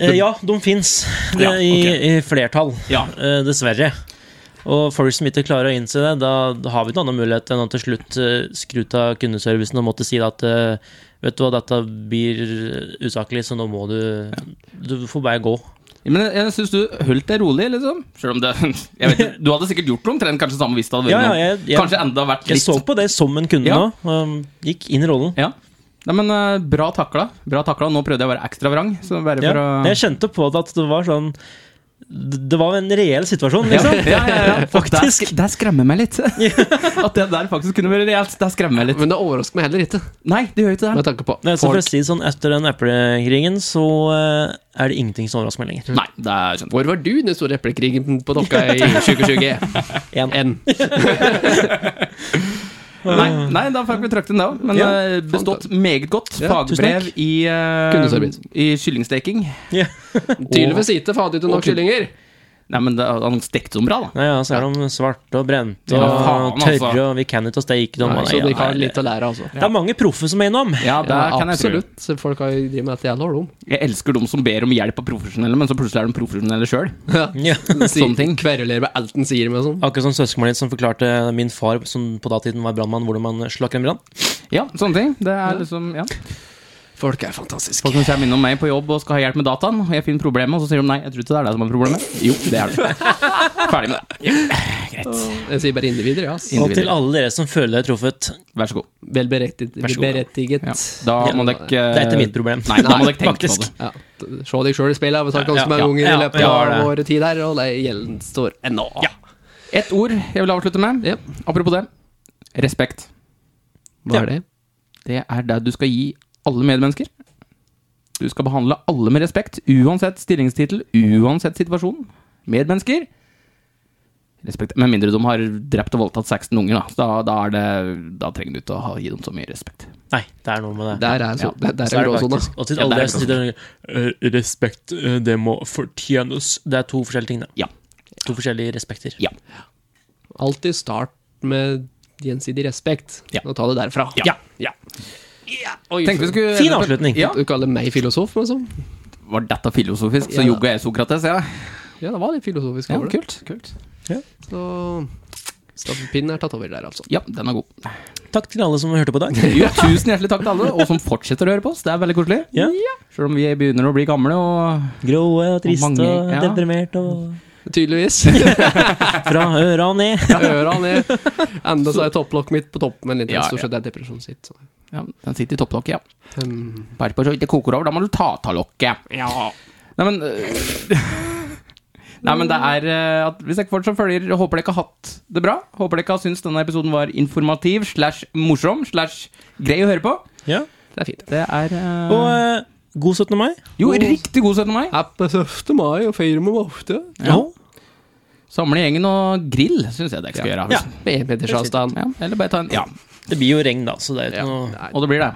Speaker 3: Eh, Ja, de fins. Det
Speaker 2: Ja,
Speaker 3: er i, i flertall,
Speaker 2: Ja.
Speaker 3: eh, dessverre. Og folk som ikke klarer å innse det, da da har vi ikke annen mulighet enn å til slutt eh, skru av kundeservicen og måtte si at eh, vet du hva, dette blir usaklig, så nå må du Du får bare gå.
Speaker 2: Men jeg- jeg syns du holdt deg rolig, liksom. Selv om det <laughs> jeg vet, Du hadde sikkert gjort det omtrent kanskje samme hvis det hadde vært
Speaker 3: Ja, ja,
Speaker 2: noen-
Speaker 3: jeg, jeg,
Speaker 2: Kanskje enda vært
Speaker 3: jeg
Speaker 2: litt
Speaker 3: så på det som en kunde
Speaker 2: Ja.
Speaker 3: nå. Um, gikk inn i rollen.
Speaker 2: Ja. Nei, men eh, bra takla. Bra takla. Nå prøvde jeg å være ekstra vrang. Så bare
Speaker 3: Ja.
Speaker 2: for å
Speaker 3: Jeg kjente på det at det var sånn d- Det var en reell situasjon, liksom.
Speaker 2: Ja, ja, ja, ja.
Speaker 3: <laughs> Faktisk.
Speaker 2: Det, skremmer meg litt. <laughs> At det der faktisk kunne vært reelt. Det skremmer meg litt.
Speaker 1: Men det overrasker meg heller ikke,
Speaker 2: Nei, det gjør ikke
Speaker 1: med
Speaker 2: det.
Speaker 1: tanke på
Speaker 3: Nei, så for å
Speaker 1: folk.
Speaker 3: si det sånn, Etter den eplekrigen så eh, er det ingenting som overrasker meg lenger.
Speaker 2: Nei, det er skjønt.
Speaker 1: Hvor var du i den store eplekrigen på Dokka
Speaker 2: <laughs>
Speaker 1: i 2020?
Speaker 3: En.
Speaker 1: N.
Speaker 2: Nei, nei, da fikk vi trøkt den, da. Men
Speaker 3: Ja,
Speaker 2: eh, bestått meget godt.
Speaker 1: Ja,
Speaker 2: Fagbrev i, eh,
Speaker 1: Kundeservice.
Speaker 2: i kyllingsteking.
Speaker 1: Tydeligvis ikke, for hadde ikke nok kyllinger.
Speaker 2: Nei, men det, han stekte dem bra, da.
Speaker 3: Nei, ja, så er de svarte og brente
Speaker 2: Ja,
Speaker 3: og
Speaker 2: faen, altså.
Speaker 3: tørre, og vi kan ikke å steke dem.
Speaker 1: Nei,
Speaker 3: Nei,
Speaker 1: så de
Speaker 3: ja,
Speaker 1: har
Speaker 3: nei.
Speaker 1: litt å lære, altså.
Speaker 3: Det er mange proffe som er innom.
Speaker 2: Ja, det
Speaker 1: Ja,
Speaker 2: kan jeg tro.
Speaker 1: absolutt. Så Folk har jo drevet med dette jævla om.
Speaker 2: Jeg elsker dem som ber om hjelp av profesjonelle, men så plutselig er de profesjonelle sjøl.
Speaker 3: Ja.
Speaker 2: Sånne ting.
Speaker 1: Kveruler med alt en sier med sånn.
Speaker 3: <laughs> Akkurat som søskenbarnet ditt som forklarte min far, som på datiden var brannmann, hvordan man slakk en brann.
Speaker 2: Ja, sånne ting. Det er liksom, ja.
Speaker 1: Folk er fantastiske.
Speaker 2: Folk som kommer innom meg på jobb og skal ha hjelp med dataen, og jeg finner problemet, og så sier de nei, jeg tror ikke det er det som er problemet. Jo, <laughs> det er det. Ferdig med det.
Speaker 1: Jeg sier bare individer, ja. ass.
Speaker 2: Ja.
Speaker 3: Og til alle dere som føler dere truffet,
Speaker 2: Vær så god.
Speaker 1: Vel berettiget.
Speaker 2: Vær så god.
Speaker 1: berettiget.
Speaker 2: Ja. Da må dere
Speaker 1: ja.
Speaker 3: det er ikke mitt problem.
Speaker 2: Eh, Nei, da må
Speaker 3: <laughs>
Speaker 2: dere tenke
Speaker 3: faktisk.
Speaker 2: på det.
Speaker 1: Ja. Se deg sjøl i speilet, har vi snakket om
Speaker 3: Ja,
Speaker 1: så mange
Speaker 3: ja,
Speaker 1: ganger i
Speaker 3: ja,
Speaker 1: løpet
Speaker 3: ja,
Speaker 1: av
Speaker 3: det.
Speaker 1: vår tid her, og det gjelden står ennå.
Speaker 2: Et ord jeg vil avslutte med.
Speaker 1: Ja.
Speaker 2: Apropos det. Respekt.
Speaker 1: Hva er det?
Speaker 2: Det er det du skal gi alle medmennesker. Du skal behandle alle med respekt, uansett stillingstittel, uansett situasjon. Medmennesker. Respekt. Med mindre de har drept og voldtatt 16 unger, da. Så Da, da, er det, da trenger du ikke å ha, gi dem så mye respekt.
Speaker 3: Nei, det er noe med det.
Speaker 1: Der er, så,
Speaker 2: Ja.
Speaker 1: der er
Speaker 3: Så er det
Speaker 1: gråsona.
Speaker 3: faktisk- Og til
Speaker 2: Ja, det
Speaker 3: alle
Speaker 2: er
Speaker 3: dere som sitter og eh, Respekt, eh, det må fortjenes. Det er to forskjellige ting, da.
Speaker 2: Ja.
Speaker 3: To forskjellige respekter.
Speaker 2: Ja.
Speaker 1: Alltid start med gjensidig respekt,
Speaker 2: Ja.
Speaker 1: og ta det derfra.
Speaker 3: Ja.
Speaker 1: Oi,
Speaker 2: Tenkte vi skulle
Speaker 3: Fin avslutning.
Speaker 2: Ja.
Speaker 1: Du kaller meg filosof, men sånn.
Speaker 2: Var dette filosofisk,
Speaker 1: Ja,
Speaker 2: så
Speaker 1: da.
Speaker 2: jogga jeg Sokrates, ja.
Speaker 1: Ja, det var litt filosofisk.
Speaker 2: ja
Speaker 1: over det.
Speaker 2: kult. kult.
Speaker 1: Så stafettpinnen er tatt over der, altså.
Speaker 2: Ja, den er god.
Speaker 3: Takk til alle som hørte på i dag.
Speaker 2: <laughs> Jo, tusen hjertelig takk til alle, og som fortsetter å høre på oss. Det er veldig koselig.
Speaker 3: Ja.
Speaker 2: Selv om vi begynner å bli gamle og
Speaker 3: Grå og trist
Speaker 2: mange-
Speaker 3: og
Speaker 2: ja.
Speaker 3: deprimert og
Speaker 1: Tydeligvis.
Speaker 3: Fra øra og ned.
Speaker 1: Øra ned. Enda så er topplokket mitt på toppen, men litt
Speaker 2: Ja,
Speaker 1: stort sett er depresjonen sitt. Så.
Speaker 2: Ja, den sitter i topplokket, ja.
Speaker 1: Um,
Speaker 2: Bare på så ikke det koker over, da må du ta av lokket. Nei, men øh, <laughs> Nei, men det er øh, at Hvis jeg ikke fortsatt følger, håper dere ikke har hatt det bra. Håper dere ikke har syntes denne episoden var informativ slash morsom slash grei å høre på.
Speaker 3: Ja.
Speaker 1: det er fint.
Speaker 2: Det er øh,
Speaker 3: Og eh, god 17. mai.
Speaker 2: Jo, riktig god 17. mai.
Speaker 1: Happy 17. mai, og feirer med ofte.
Speaker 2: Ja. Samle gjengen og grill, syns jeg dere skal gjøre.
Speaker 3: Ja.
Speaker 2: hvis-
Speaker 1: Med metersavstand.
Speaker 2: Ja, eller bare ta en Ja,
Speaker 3: Det blir jo regn, da, så det er jo ikke noe
Speaker 1: Nei,
Speaker 2: og det blir det.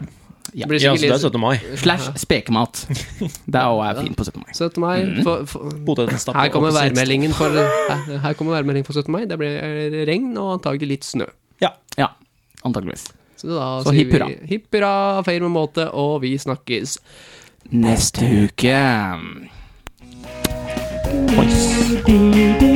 Speaker 1: det blir
Speaker 3: Ja, så det er
Speaker 1: sikkert
Speaker 3: 17. mai.
Speaker 1: litt
Speaker 2: Slash spekemat. Det er også fint på 17. mai.
Speaker 1: 17. mai. For, for,
Speaker 3: Potetstappe
Speaker 1: her kommer
Speaker 3: og potetstappe.
Speaker 1: værmeldingen for, her, her kommer værmelding for 17. mai. Det blir regn og antagelig litt snø.
Speaker 3: Ja.
Speaker 2: Ja, antakeligvis.
Speaker 1: Så da
Speaker 2: Så
Speaker 1: sier
Speaker 2: hipp hurra.
Speaker 1: vi hipp hurra, feir med måte, og vi snakkes.
Speaker 2: Neste uke. Boys.
Speaker 7: do do